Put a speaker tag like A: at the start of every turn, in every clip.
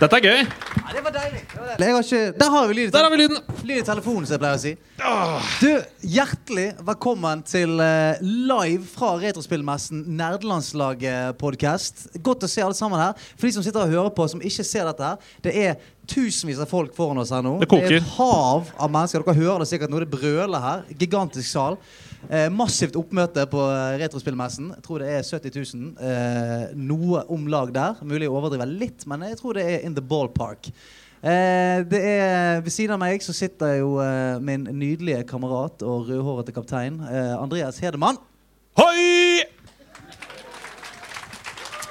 A: Dette er gøy.
B: Det var deilig. Det var deilig. Jeg har ikke, der har vi lyd i
A: Der har Ah. vi lyden.
B: tele- lyd i telefonen, som jeg pleier å si. Du, hjertelig velkommen til eh, live fra Retrospillmessen Nerdelandslag-podkast. Godt å se alle sammen her. For de som sitter og hører på, som ikke ser dette her, det er tusenvis av folk foran oss her nå.
A: Det koker.
B: er et hav av mennesker. Dere hører det sikkert nå. Det brøler her. Gigantisk sal. Eh, massivt oppmøte på eh, Retrospillmessen. Jeg tror det er 70 000. Eh, noe om lag der. Mulig å overdrive litt, men jeg tror det er in the ballpark. Eh, det er, ved siden av meg så sitter jo eh, min nydelige kamerat og rødhårete kaptein eh, Andreas Hedemann.
A: Hoi!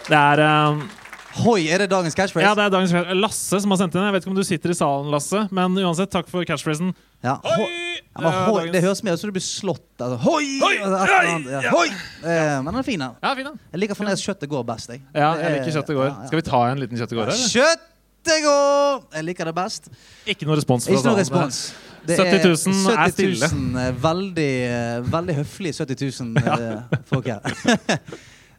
A: Det er eh,
B: Hoi, er det dagens catchphrase?
A: Ja, det er dagens Lasse som har sendt inn. Jeg vet ikke om du sitter i salen, Lasse, men uansett, takk for catchphrasen.
B: Ja, ho-
A: Hoi!
B: Ja,
A: Det
B: men
A: er
B: hoi,
A: dagens-
B: det høres mer ut som du blir slått. Altså, hoi!
A: Hoi!
B: Altså, et eller annet,
A: Hei!
B: ja. hoi! Eh, men den er fin, den.
A: Ja, fin, den.
B: Jeg liker fremdeles kjøttet går best. Jeg.
A: Ja,
B: Det
A: jeg
B: er-
A: liker kjøtt i går.
B: ja, ja.
A: Skal vi ta en liten kjøtt i går, eller?
B: Kjøttet går! Jeg liker det best.
A: Ikke noe respons fra
B: Ikke noe
A: salen.
B: respons. Det
A: 70 000 er stille.
B: 70 000, eh, veldig, eh, veldig høflige 70 000 eh, folk her.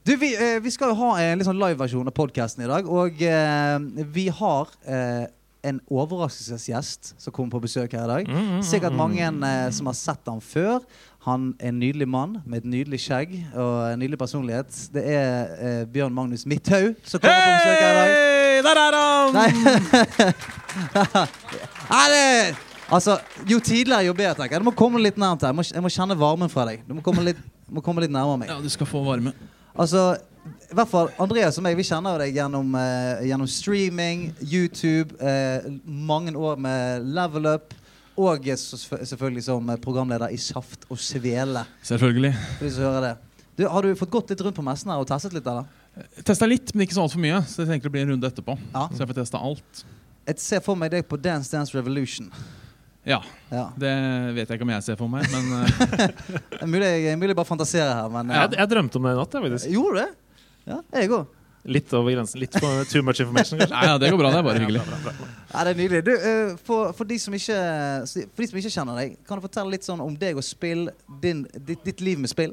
B: Du, vi, eh, vi skal jo ha en litt sånn liveversjon av podkasten i dag. Og eh, vi har eh, en overraskelsesgjest som kommer på besøk her i dag.
A: Mm-hmm.
B: Sikkert mange eh, som har sett ham før. Han er en nydelig mann med et nydelig skjegg og en nydelig personlighet. Det er eh, Bjørn Magnus Midthaug som kommer på besøk her i dag.
A: Hei! Der er han!
B: Nei. Nei, det Altså, jo tidligere, jo bedre, tenker jeg. Du må komme litt nærmt her. Jeg må, jeg må kjenne varmen fra deg. Du må komme litt, må komme litt nærmere meg.
C: Ja, du skal få varme.
B: Altså, i hvert fall Andreas og meg, vi kjenner jo deg gjennom, eh, gjennom streaming, YouTube, eh, mange år med level up. Og eh, så, selvfø- selvfølgelig som eh, programleder i Saft og Svele.
C: Selvfølgelig.
B: For de som hører det. Du, har du fått gått litt rundt på messen her og testet litt, eller?
C: Testa litt, men ikke så altfor mye. Så jeg tenker det blir en runde etterpå.
B: Ja.
C: Så jeg får testa alt.
B: Jeg ser for meg deg på Dance Dance Revolution.
C: Ja,
B: Ja.
C: Det vet jeg ikke om jeg ser for meg, men eh,
B: Det er mulig jeg, mulig jeg bare fantaserer her, men eh,
A: Jeg, jeg drømte om det i natt. Jeg, faktisk.
B: Gjorde du det? Ja, jeg òg.
A: Litt over grensen. Litt for too much information, kanskje.
C: nei, ja, det går bra. Det er bare hyggelig.
B: Ja, det er nydelig. Du, eh, for, for, de som ikke, for de som ikke kjenner deg, kan du fortelle litt sånn om deg og spill, din, ditt, ditt liv med spill?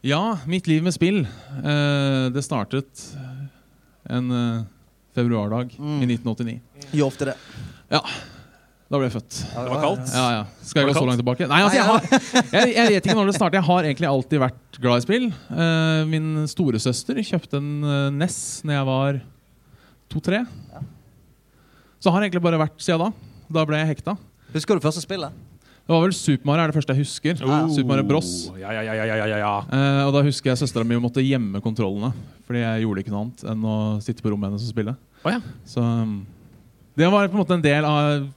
C: Ja, mitt liv med spill. Eh, det startet en eh, februardag
B: Mm.
C: i 1989.
B: Gjør ofte det.
C: Da ble jeg født.
B: Ja,
A: Det var kaldt.
C: Ja, ja. Skal jeg gå så langt tilbake? Nei, altså, jeg,
B: Nei,
C: har, jeg, jeg vet ikke når det startet. Jeg har egentlig alltid vært glad i spill. Eh, min storesøster kjøpte en eh, NES når jeg var to-tre. Så har jeg egentlig bare vært siden da. Da ble jeg hekta.
B: Husker du første spillet?
C: Det var vel Super Mario er det første jeg husker.
A: Oh.
B: Ja.
C: Super Mario Bros.
A: Ja, ja, ja, ja, ja, ja, ja.
C: Eh, og da husker jeg søstera mi måtte gjemme kontrollene. Fordi jeg gjorde ikke noe annet enn å sitte på rommet hennes og spille.
A: Å, ja.
C: Så um, det var på en måte en del av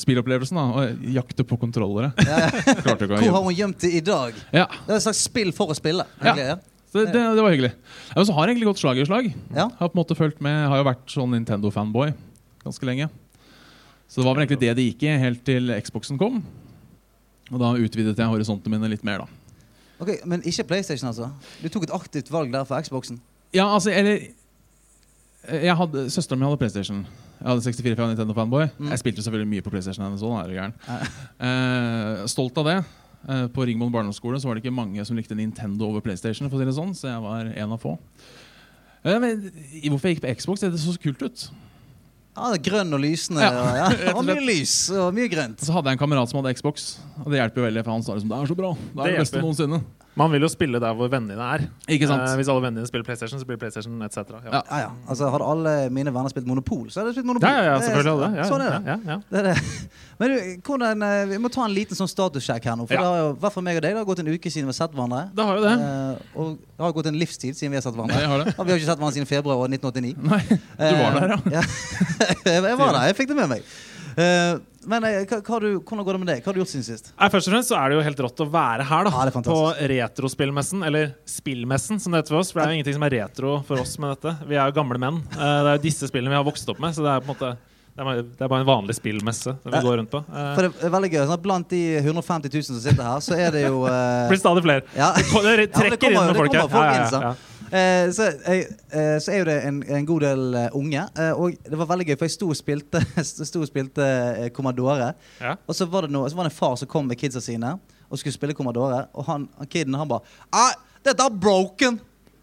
C: spillopplevelsen. da Å jakte på kontrollere. Klarte ikke å
B: Hvor har
C: gjøre
B: hun gjemt det i dag?
C: ja,
B: Det er et slags spill for å spille.
C: Ja.
B: egentlig,
C: så det, det var hyggelig. Ja, men så har jeg egentlig gått slag i slag.
B: Ja.
C: Har på en måte følt med, har jo vært sånn Nintendo-fanboy ganske lenge. Så det var vel egentlig det det gikk i, helt til Xboxen kom. Og da utvidet jeg horisontene mine litt mer, da.
B: Ok, Men ikke PlayStation, altså? Du tok et aktivt valg der for Xboxen.
C: Ja, altså, eller eh, jeg hadde, Søsteren min hadde PlayStation. Jeg hadde 64 fra Nintendo Fanboy.
B: Mm.
C: Jeg spilte selvfølgelig mye på PlayStation. hennes også, da er du gæren.
B: Ja.
C: Eh, stolt av det. Eh, på Ringvoll barneskole så var det ikke mange som likte Nintendo over PlayStation, for å si det sånn, så jeg var en av få. Eh, men i- hvorfor jeg gikk på Xbox? Det så så kult ut.
B: Ja, det er Grønn og lysende.
C: Ja,
B: Og, ja.
C: rett
B: og
C: og
B: mye
C: slett. Altså-
B: lys og mye grønt.
C: Og så hadde jeg en kamerat som hadde Xbox, og det hjelper jo veldig. For han sa liksom, det er så bra. Det er det,
A: Det
C: beste
A: hjelper.
C: noensinne.
A: Man vil jo spille der hvor vennene dine er.
C: Ikke sant?
A: Eh, hvis alle vennene dine spiller PlayStation, så blir det PlayStation etc.
C: Ja.
B: Ja, ja. Altså, Hadde alle mine venner spilt Monopol, så hadde jeg spilt Monopol.
A: Ja, ja, ja,
B: Det er-
A: selvfølgelig. alle. Ja,
B: Sånn er det.
A: Ja, ja, ja.
B: Det er det. Men du, hvordan, eh, vi må ta en liten sånn statussjekk her nå. For
A: Ja.
B: det har jo, i hvert fall meg og deg, det har gått en uke siden vi har sett hverandre.
A: Det har jo det.
B: Eh, og det har gått en livstid siden vi har sett
C: Ja,
B: hverandre.
C: jeg har det.
B: Og vi har ikke sett hverandre siden februar år 1989.
C: Nei, du var der, ja.
B: ja. jeg var der, jeg fikk det med meg. Eh, men eh, hva, hva har du, hvordan går det med deg? Hva har du gjort siden sist?
A: Nei, først og fremst så er det jo helt rått å være her, da.
B: Ja, det er
A: på
B: fantastisk.
A: Retrospillmessen, eller Spillmessen, som det heter for oss. For det er jo ingenting som er retro for oss med dette. Vi er jo gamle menn. Eh, Det er jo disse spillene vi har vokst opp med, så det er på en måte det er bare- det er bare en vanlig spillmesse som vi
B: Ja.
A: går rundt på. Eh,
B: For det er veldig gøy. Sånn, blant de 150 000 som sitter her, så er det jo eh,
A: Det blir stadig flere.
B: ja.
A: Det ko- Det
B: Ja, men
A: trekker
B: det kommer jo-
A: inn noen
B: det
A: folk her.
B: kommer folk inn, sant?
A: ja.
B: Eh, så, jeg, eh, så er jo det en, en god del eh, unge. eh, og det var veldig gøy, for jeg sto og spilte, sto og spilte eh, Commodore.
A: Ja.
B: Og så var, det noe, så var det en far som kom med kidsa sine og skulle spille Commodore. Og han, han kiden han bare «Nei, Dette er broken!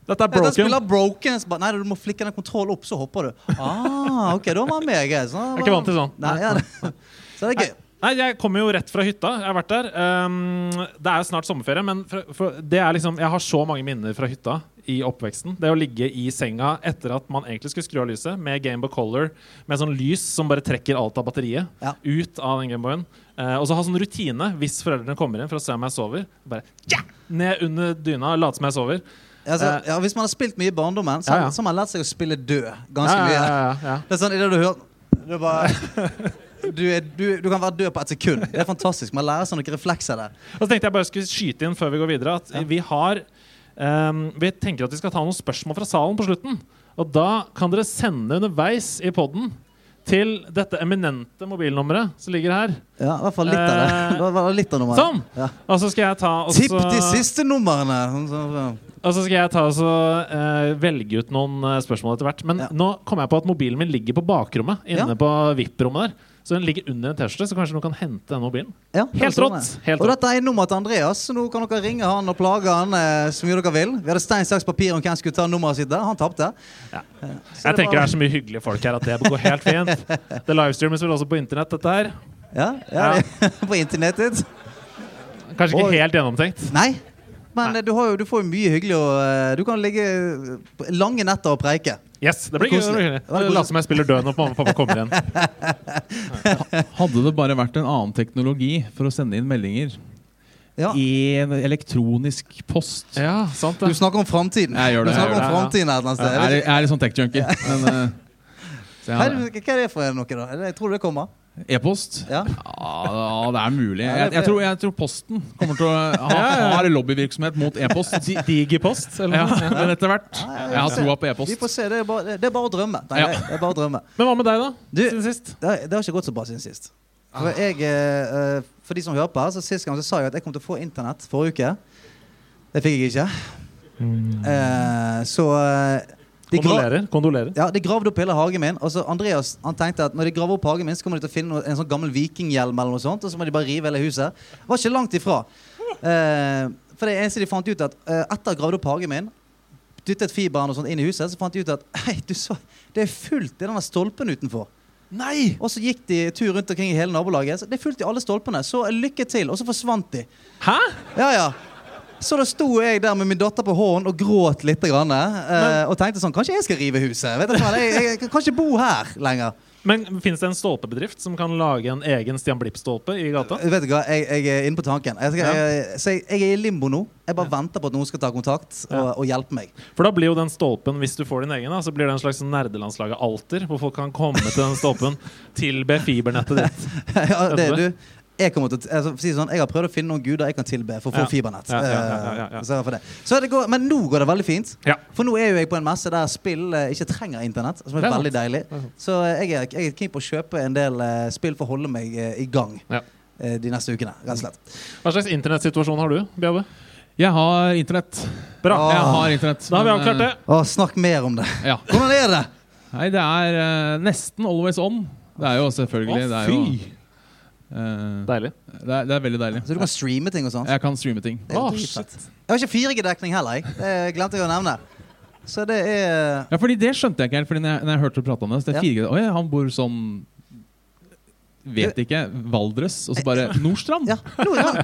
A: Dette er
B: Den
A: broken.
B: spiller broken. Jeg ba- Nei, du må flikke den kontroll opp, så hopper du. Ah, ok, da var han meg. Jeg Så
A: Jeg er ikke vant til sånn.
B: Nei, ja, det. Så det er gøy.
A: Nei, Jeg kommer jo rett fra hytta. Jeg har vært der. Ehm, det er jo snart sommerferie, men for, for det er liksom, jeg har så mange minner fra hytta i oppveksten. Det å ligge i senga etter at man egentlig skulle skru av lyset, med Gameboy Color, med sånn lys som bare trekker alt av batteriet
B: Ja.
A: ut av den Gameboyen. Eh, og så ha sånn rutine hvis foreldrene kommer inn for å se om jeg sover. Bare tja! ned under dyna og late som jeg sover.
B: Altså,
A: Eh.
B: ja, hvis man har spilt mye i barndommen, så,
A: Ja, ja.
B: så har man lært seg å spille død
A: Ja,
B: ganske
A: ja,
B: mye.
A: ja, ja, ja.
B: Det er sånn, i det du hører Du bare du, er, du, du kan være død på ett sekund. Det er fantastisk. Man lærer seg noen reflekser der.
A: Og så tenkte jeg bare skulle skyte inn før vi går videre at vi har ehm, Vi tenker at vi skal ta noen spørsmål fra salen på slutten. Og da kan dere sende underveis i poden til dette eminente mobilnummeret som ligger her.
B: Ja, i hvert fall litt av det.
A: Eh,
B: det, var litt av nummeret.
A: Sånn!
B: Ja.
A: Og så skal jeg ta og
B: Tipp de
A: så-
B: siste numrene! Sånn, sånn,
A: Og så skal jeg ta og så, eh, velge ut noen eh, spørsmål etter hvert. Men
B: Ja.
A: nå kom jeg på at mobilen min ligger på bakrommet. Inne
B: Ja.
A: på VIP-rommet der. Så den ligger under en T-skjorte, så kanskje noen kan hente den mobilen.
B: Ja, det
A: Helt
B: var sånn
A: rått,
B: det.
A: helt
B: og
A: rått.
B: dette er nummeret til Andreas, så nå kan dere ringe han og plage han eh, så mye dere vil. Vi hadde stein, saks, papir om hvem som skulle ta nummeret sitt der. Han tapte.
A: Ja.
B: Eh, så
A: Jeg tenker det
B: var-
A: er så mye hyggelige folk her at det går helt fint. Det livestreames vel også på internett, dette her.
B: Ja, ja, på internettet.
A: Kanskje
B: Oi.
A: ikke helt gjennomtenkt.
B: Nei. Men eh, du, har jo, du får jo mye hyggelig å eh, Du kan ligge eh, på lange netter og preike.
A: Yes, det blir gøy.
B: Koselig.
A: det blir
B: Det var
A: gøy.
B: koselig.
A: Late som jeg spiller død når mamma og pappa kommer igjen.
C: Hadde det bare vært en annen teknologi for å sende inn meldinger
B: Ja.
C: i en elektronisk post
A: Ja, sant
B: Du
A: det.
B: snakker om framtiden.
C: Jeg gjør det,
B: Du
C: jeg
B: snakker
A: gjør
B: om
A: det,
B: fremtiden et eller annet sted.
C: Jeg
B: Jeg
C: er,
B: vet
C: jeg er litt sånn tech-junkie. Men eh, så
B: ikke-
C: jeg har det.
B: Hva er det- hva er det for noe, da? Er det- Jeg tror det kommer.
C: E-post?
B: Ja.
C: Ja, det er mulig.
B: Ja,
C: Jeg,
B: det-
C: jeg, tror, jeg tror Posten kommer til å ha, har lobbyvirksomhet mot e-post.
A: Digipost?
C: Ja, men etter hvert.
B: Ja, ja, vi
C: Jeg har
B: får se.
C: troa på
B: Vi får
C: e-post.
B: se. Det er bare, det er bare å drømme. Nei,
C: Ja.
B: det er bare å drømme.
A: Men hva med deg, da?
B: Du-
A: Siden sist?
B: Det, har- det har ikke gått så bra siden sist. For,
C: Ah.
B: jeg, eh, eh, for de som hører på her, så sist gang så sa jeg at jeg kom til å få internett forrige uke. Det fikk jeg ikke.
C: Mm.
B: Eh, så eh, de gra-
A: Kondolerer. Kondolerer.
B: Ja, De gravde opp hele hagen min. Og så Andreas han tenkte at når de graver opp hagen min, så kommer de til å finne noe- en sånn gammel vikinghjelm eller noe sånt, og så må de bare rive hele huset. Var ikke langt ifra. Eh, for det eneste de fant ut, at eh, etter å ha gravd opp hagen min, dyttet fiberen og sånt inn i huset, så fant de ut at hei, du så, det er fullt i den der stolpen utenfor.
A: Nei!
B: Og så gikk de tur rundt omkring i hele nabolaget. Så det er fullt i alle stolpene. Så lykke til. Og så forsvant de.
A: Hæ?
B: Ja, ja. Så da sto jeg der med min datter på hånden og gråt litt. Grann, eh, og tenkte sånn Kanskje jeg skal rive huset? Vet du, hva, jeg, jeg, jeg kan ikke bo her lenger.
A: Men fins det en stolpebedrift som kan lage en egen Stian Blipp-stolpe i gata?
B: Vet du hva, jeg, jeg er inne på tanken. Jeg, skal, jeg, så jeg, jeg er i limbo nå. Jeg bare venter på at noen skal ta kontakt og,
A: Ja.
B: og hjelpe meg.
A: For da blir jo den stolpen, hvis du får din egen, da, så blir det en slags nerdelandslaget-alter, hvor folk kan komme til den stolpen, tilbe fibernettet ditt.
B: ja, det,
A: Vet du det?
B: du, jeg, kommer til, å t- altså, for å si det sånn, jeg har prøvd å finne noen guder jeg kan tilbe for å få
A: Ja.
B: fibernett.
A: Ja, ja, ja, ja, ja.
B: Eh, Så, for det. så det går, men nå går det veldig fint.
A: Ja.
B: For nå er jo jeg på en messe der spill eh, ikke trenger internett, som er
A: Det er
B: veldig deilig.
A: Det er sant.
B: Så eh, jeg er, jeg er keen på å kjøpe en del eh, spill for å holde meg eh, i gang
A: Ja.
B: eh, de neste ukene. rett og slett.
A: Hva slags internettsituasjon har du, Bjabbe?
C: Jeg har internett.
A: Bra.
B: Ah.
C: Jeg har internett.
A: Da har vi
C: men,
A: avklart det.
B: Å, snakk mer om det.
C: eh, Ja.
B: Hvordan er det?
C: Nei, det er eh, nesten always on. Det er jo selvfølgelig
A: Å,
C: det er jo, eh,
A: Deilig.
C: det, er, det er veldig deilig.
B: Så du kan streame ting og sånt?
C: Jeg kan streame ting.
B: Det er jo
A: Å,
B: dritfett. Jeg har ikke 4G-dekning heller, jeg. Det glemte jeg å nevne. Så det er
C: Ja, fordi det skjønte jeg ikke helt Fordi når jeg, når jeg hørte du prate om det. Så det er
B: Ja.
C: fire, Oi, han bor sånn Vet ikke. Valdres. Og så
A: Eh,
C: bare Nordstrand.
B: Ja, nå er han.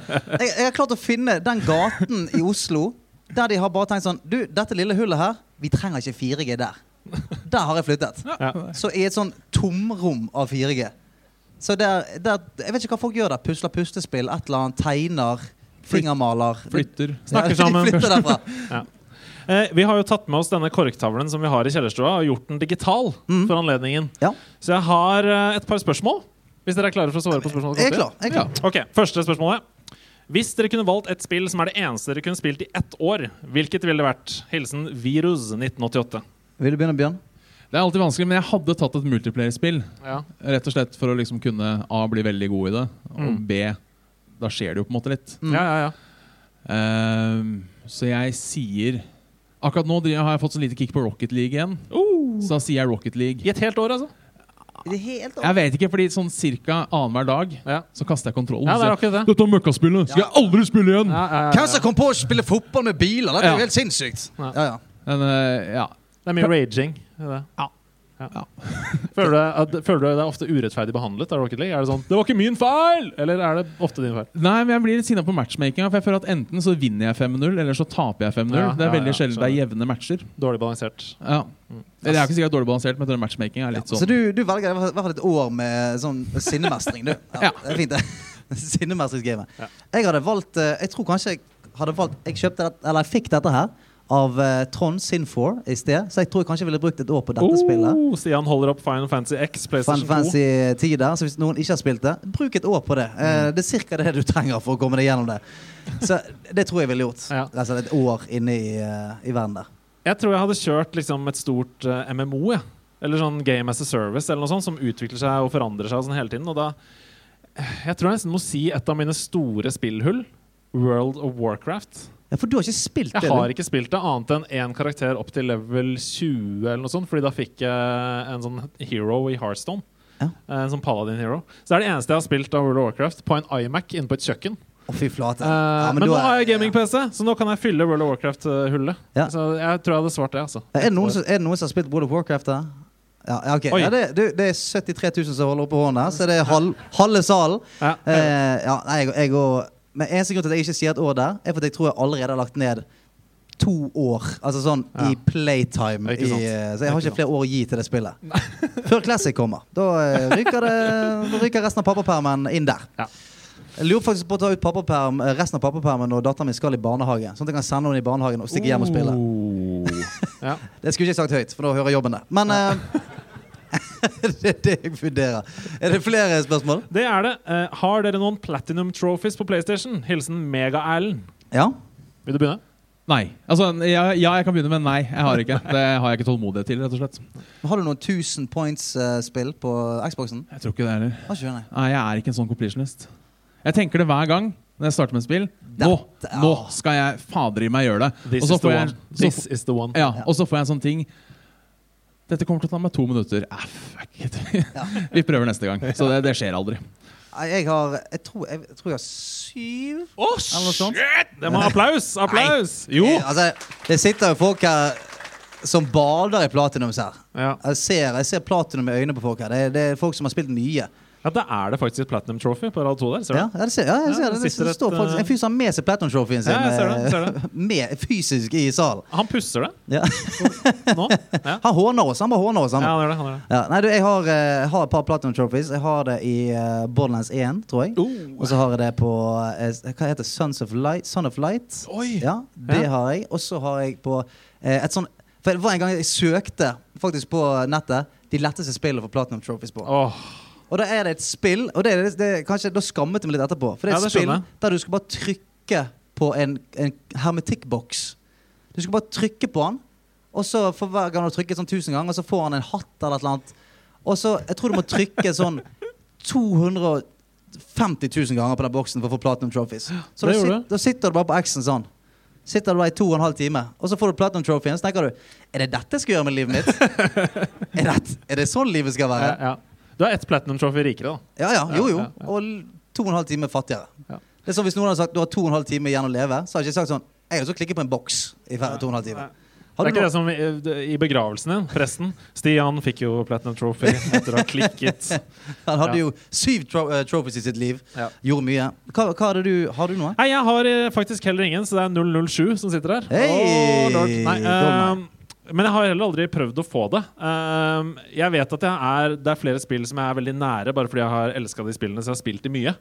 B: Jeg, jeg har klart å finne den gaten i Oslo der de har bare tenkt sånn Du, dette lille hullet her, vi trenger ikke 4G der. Der har jeg flyttet.
A: Ja.
B: Så i et sånn tomrom av 4G. Så der, der Jeg vet ikke hva folk gjør der. Pusler pustespill, et eller annet, tegner, fingermaler.
C: Flytter.
A: Snakker
B: Ja,
A: sammen.
B: De flytter derfra.
A: Eh, vi har jo tatt med oss denne korktavlen som vi har i kjellerstua, og gjort den digital
B: Mm.
A: for anledningen.
B: Ja.
A: Så jeg har eh, et par spørsmål, hvis dere er klare for å svare på spørsmålene.
B: Jeg er klar. Jeg er klar.
A: Ok, Første spørsmålet. Hvis dere kunne valgt et spill som er det eneste dere kunne spilt i ett år, hvilket ville det vært? Hilsen Virus 1988.
B: Vil du begynne, Bjørn?
C: Det er alltid vanskelig, men jeg hadde tatt et multiplayer-spill.
A: Ja.
C: Rett og slett for å liksom kunne A. bli veldig god i det, og
A: Mm.
C: B. Da skjer det jo på en måte litt.
B: Mm.
A: ja, ja,
C: Ehm, så jeg sier Akkurat nå driver- har jeg fått så lite kick på Rocket League igjen, så da sier jeg Rocket League.
A: Uh, I et helt år, altså?
B: I det hele tatt?
C: Jeg vet ikke, fordi sånn cirka annenhver dag
A: Ja,
C: så kaster jeg kontrollen.
A: ja det er
C: Så sier jeg,
A: akkurat det.
C: Dette møkkaspillet skal jeg aldri spille igjen!
A: Ja, ja, ja,
B: Hvem som kom på å spille fotball med biler? Det er
C: Ja.
B: jo helt sinnssykt.
A: Ja.
B: Ja, ja.
C: Men, eh, ja.
A: Det er mye raging. i Det.
C: Ja.
A: Ja.
C: Ja.
A: føler, du at, føler du deg ofte urettferdig behandlet av Rocket League? Er det sånn 'Det var ikke min feil!' Eller er det ofte din feil?
C: Nei, men jeg blir litt sinna på matchmakinga. For jeg føler at enten så vinner jeg 5-0, eller så taper jeg 5-0.
A: Ja,
C: det er
A: ja,
C: veldig
A: ja,
C: sjelden det er jevne matcher.
A: Dårlig balansert.
C: Ja.
A: Mm.
C: Eller jeg er ikke sikkert dårlig balansert, men jeg tror matchmaking er litt
B: Så
C: sånn.
B: du, du velger i hvert fall et år med sånn sinnemestring, du.
C: Ja.
B: Det er fint, det. Sinnemestringsgamet.
A: Ja.
B: Jeg hadde valgt eh, Jeg tror kanskje jeg hadde valgt Jeg kjøpte dette, eller jeg fikk dette her av eh, Trond Sinfor i sted, så jeg tror jeg kanskje jeg ville brukt et år på dette spillet.
A: Oh, Stian holder opp Final Fantasy X, PlayStation
B: Final
A: 2.
B: Fantasy 10 der, så hvis noen ikke har spilt det, bruk et år på det. Eh,
A: Mm.
B: Det er ca. det du trenger for å komme deg gjennom det. Så det tror jeg ville gjort.
A: Ja.
B: Rett og slett et år inne i, eh, i verden der.
A: Jeg tror jeg hadde kjørt liksom, et stort eh, MMO, jeg. eller sånn Game as a Service, eller noe sånt, som utvikler seg og forandrer seg og sånn hele tiden. Og da, eh, jeg tror jeg nesten må si et av mine store spillhull, World of Warcraft.
B: Ja, for du har ikke spilt
A: Jeg
B: det?
A: har
B: du.
A: ikke spilt det annet enn én karakter opp til level 20, eller noe sånt, fordi da fikk jeg en sånn hero i Hearthstone.
B: Ja.
A: En sånn paladin hero. Så det er det eneste jeg har spilt av World of Warcraft, på en iMac inne på et kjøkken.
B: Å, fy flate.
A: Eh,
B: Ja,
A: men
B: da
A: nå
B: er-
A: har jeg gaming-PC, så nå kan jeg fylle World of Warcraft-hullet.
B: Ja.
A: Så jeg tror jeg hadde svart det, altså.
B: Er det noen som, er det noen som har spilt World of Warcraft her? Ja, ja, ok.
A: Oi.
B: ja det, du, det er 73 000 som holder oppe hånden her, så det er halv, halve salen.
A: Ja.
B: Eh, ja, nei, jeg, jeg og, men eneste grunn til at jeg ikke sier et år der, er fordi jeg tror jeg allerede har lagt ned to år. Altså sånn i
A: Ja.
B: playtime.
A: Ikke
B: I,
A: sant.
B: eh, så jeg har
A: Ikke
B: ikke flere år å gi til det spillet. Før Classic kommer. Da eh, ryker, det, da ryker resten av pappapermen inn der.
A: Ja.
B: Jeg lurer faktisk på å ta ut pappaperm, eh, resten av pappapermen når datteren min skal i barnehage. Sånn at jeg kan sende henne i barnehagen og stikke hjem og spille.
C: Oh.
A: ja.
B: Det skulle ikke jeg sagt høyt, for da hører jobben det. Men eh, det er det jeg vurderer. Er det flere spørsmål?
A: Det er det. Eh, har dere noen platinum trophies på PlayStation? Hilsen Mega-Erlend.
B: Ja.
A: Vil du begynne?
C: Nei. Altså, ja, ja, jeg kan begynne, men nei. Jeg har ikke. Det har jeg ikke tålmodighet til, rett og slett.
B: Har du noen 1000 points-spill på Xboxen?
C: Jeg tror ikke det heller.
B: Har ikke du, nei.
C: Nei, jeg er ikke en sånn completionist. Jeg tenker det hver gang når jeg starter med et spill. Nå,
B: Det- ja.
C: nå skal jeg fader i meg gjøre det.
A: This,
C: Og så
A: is the,
C: får jeg-
A: one. This is the one.
C: Ja, Og så får jeg en sånn ting Dette kommer til å ta meg to minutter. Ah, fuck it. Vi prøver neste gang. Så det, det skjer aldri.
B: Nei, Jeg har Jeg tror jeg, jeg, tror jeg har syv.
A: Å,
B: Eller noe sånt.
A: shit! Det må applaus! Applaus! Jo!
B: Eh, altså, det sitter jo folk her som bader i platinums her.
A: Ja.
B: Jeg ser, jeg ser platinum i øynene på folk her. Det, er- det er folk som har spilt mye.
A: ja, da er det faktisk et platinum trophy på rad to der. Ser du?
B: Ja, ja, det ser, ja, jeg
A: Ja,
B: ser
A: det
B: det. Det,
A: sitter et, eh,
B: står faktisk en fyr som har med seg platinum trofeen sin
A: Ja, jeg ser det, jeg ser
B: eh, med, fysisk i salen.
A: Han pusser det
B: Ja.
A: nå. Ja,
B: Han håner oss. Han bare håner oss.
A: ja
B: Han.
A: han gjør det. Han gjør det.
B: Ja, nei, du, jeg har, eh, jeg har et par Platinum Trophies. Jeg har det i eh, Borderlands 1, tror jeg. Og så har jeg det på eh, Hva heter det? Sons of Light? Son of Light.
A: Oi!
B: Ja, det
A: Ja.
B: har jeg. Og så har jeg på eh, et sånn For det var en gang jeg søkte faktisk på nettet de letteste spillene for Platinum Trophies på.
A: Åh,
B: Og da er det et spill, og det er det, det, kanskje, da skammet jeg meg litt etterpå. For det er
A: Ja, det
B: et spill
A: skjønner jeg.
B: der du skal bare trykke på en, en hermetikkboks. Du skal bare trykke på den, og så for hver gang du trykker sånn tusen ganger, så får han en hatt eller et eller annet. Og så, jeg tror du må trykke sånn 250 000 ganger på den boksen for å få Platinum Trophies. Så
A: Det
B: da,
A: gjorde
B: sit, da sitter du bare på X-en sånn. Sitter du bare i to og en halv time, og så får du Platinum Trophy-en. Så tenker du Er det dette jeg skal gjøre med livet mitt? er, det, er det sånn livet skal være?
A: ja, ja. Du er ett platinum trophy rikere, da.
B: Ja, ja, jo, jo.
A: Ja, ja, ja.
B: Og l- to og en halv time fattigere.
A: Ja.
B: Det er som Hvis noen hadde sagt du har to og en halv time igjen å leve, så hadde jeg ikke sagt sånn Jeg har også klikket på en boks i hver to og en halv time.
A: Nei.
B: Har
A: Det er
B: du
A: ikke
B: noe?
A: det som i, i begravelsen din, presten. Stian fikk jo Platinum Trophy etter å ha klikket.
B: Han hadde
A: Ja.
B: jo syv tro eh, trophies i sitt liv.
A: Ja.
B: Gjorde mye. Hva, hva hadde du, har du noe?
A: Nei, jeg har eh, faktisk heller ingen, så det er 007 som sitter her.
B: Hei!
A: Åh, lord. Nei,
B: Goldeneye.
A: ehm, men jeg har heller aldri prøvd å få det. Ehm, jeg vet at jeg er, det er flere spill som jeg er veldig nære, bare fordi jeg har elska de spillene, så jeg har spilt de mye.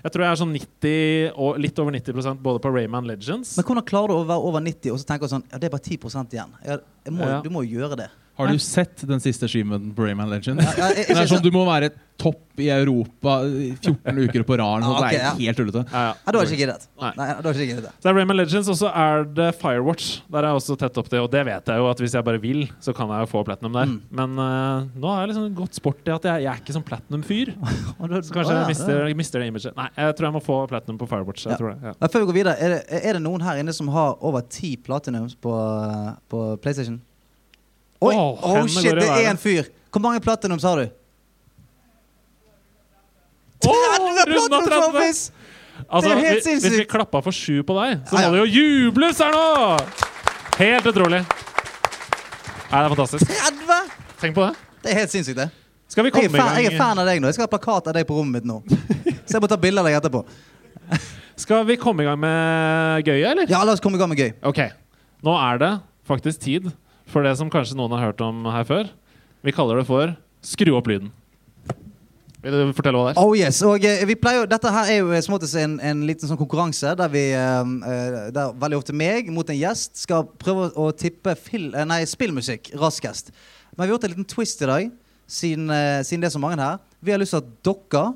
A: Jeg tror jeg er sånn 90, og litt over 90 både på Rayman Legends.
B: Men hvordan klarer du å være over 90 og så tenke sånn Ja, det er bare 10 igjen. Jeg, jeg må,
A: Ja.
B: Du må jo gjøre det.
C: Har du sett den siste skimen på Rayman Legend?
B: Ja, jeg- jeg-
C: Det er sånn Du må være topp i Europa i 14 uker på rad.
B: Ja, ok,
C: Det
B: ja.
C: er helt tullete.
A: Ja, ja.
B: Nei, da har jeg ikke giddet.
A: Nei.
B: Nei, da har jeg ikke giddet det.
A: Så det er Rayman Legends, og så er det Firewatch. Der er jeg også tett opp til, og det vet jeg jo at hvis jeg bare vil, så kan jeg jo få platinum der.
B: Mm.
A: Men eh, nå har jeg liksom gått sport i at jeg, jeg er ikke sånn platinum-fyr.
B: Og da-
A: Så kanskje
B: Å, ja,
A: jeg mister,
B: det-
A: mister det imaget. Nei, jeg tror jeg må få platinum på Firewatch. Jeg
B: Ja.
A: tror det. Ja.
B: Men Før vi går videre, er det, er det noen her inne som har over ti platinums på, på PlayStation? Oi!
A: Åh,
B: oh,
A: hendene
B: shit,
A: går i
B: det er
A: været.
B: en fyr! Hvor mange platinums har du?
A: Åh, runda 30!
B: trophies!
A: Altså,
B: Det er helt
A: vi- Hvis vi
B: sinnssykt.
A: klappa for sju på deg, så
B: Ja,
A: må det jo jubles her nå! Helt utrolig. Nei, det er fantastisk.
B: 30!
A: Tenk på det.
B: Det er helt sinnssykt, det.
A: Skal vi
B: Jeg er,
A: komme i
B: fan, jeg er
A: gang,
B: fan av deg nå. Jeg skal ha plakat av deg på rommet mitt nå. Så jeg må ta bilde av deg etterpå.
A: skal vi komme i gang med gøyet, eller?
B: Ja, la oss komme i gang med gøy.
A: Ok, nå er det faktisk tid for det som kanskje noen har hørt om her før. Vi kaller det for skru opp lyden. Vil du fortelle hva det er?
B: Oh yes, og eh, vi pleier jo, Dette her er jo eh, som oftest en, en liten sånn konkurranse der vi eh, eh, der veldig ofte meg mot en gjest skal prøve å, å tippe fil, eh, nei, spillmusikk raskest. Men vi har gjort en liten twist i dag, siden, eh, siden det er så mange her. Vi har lyst til at dere,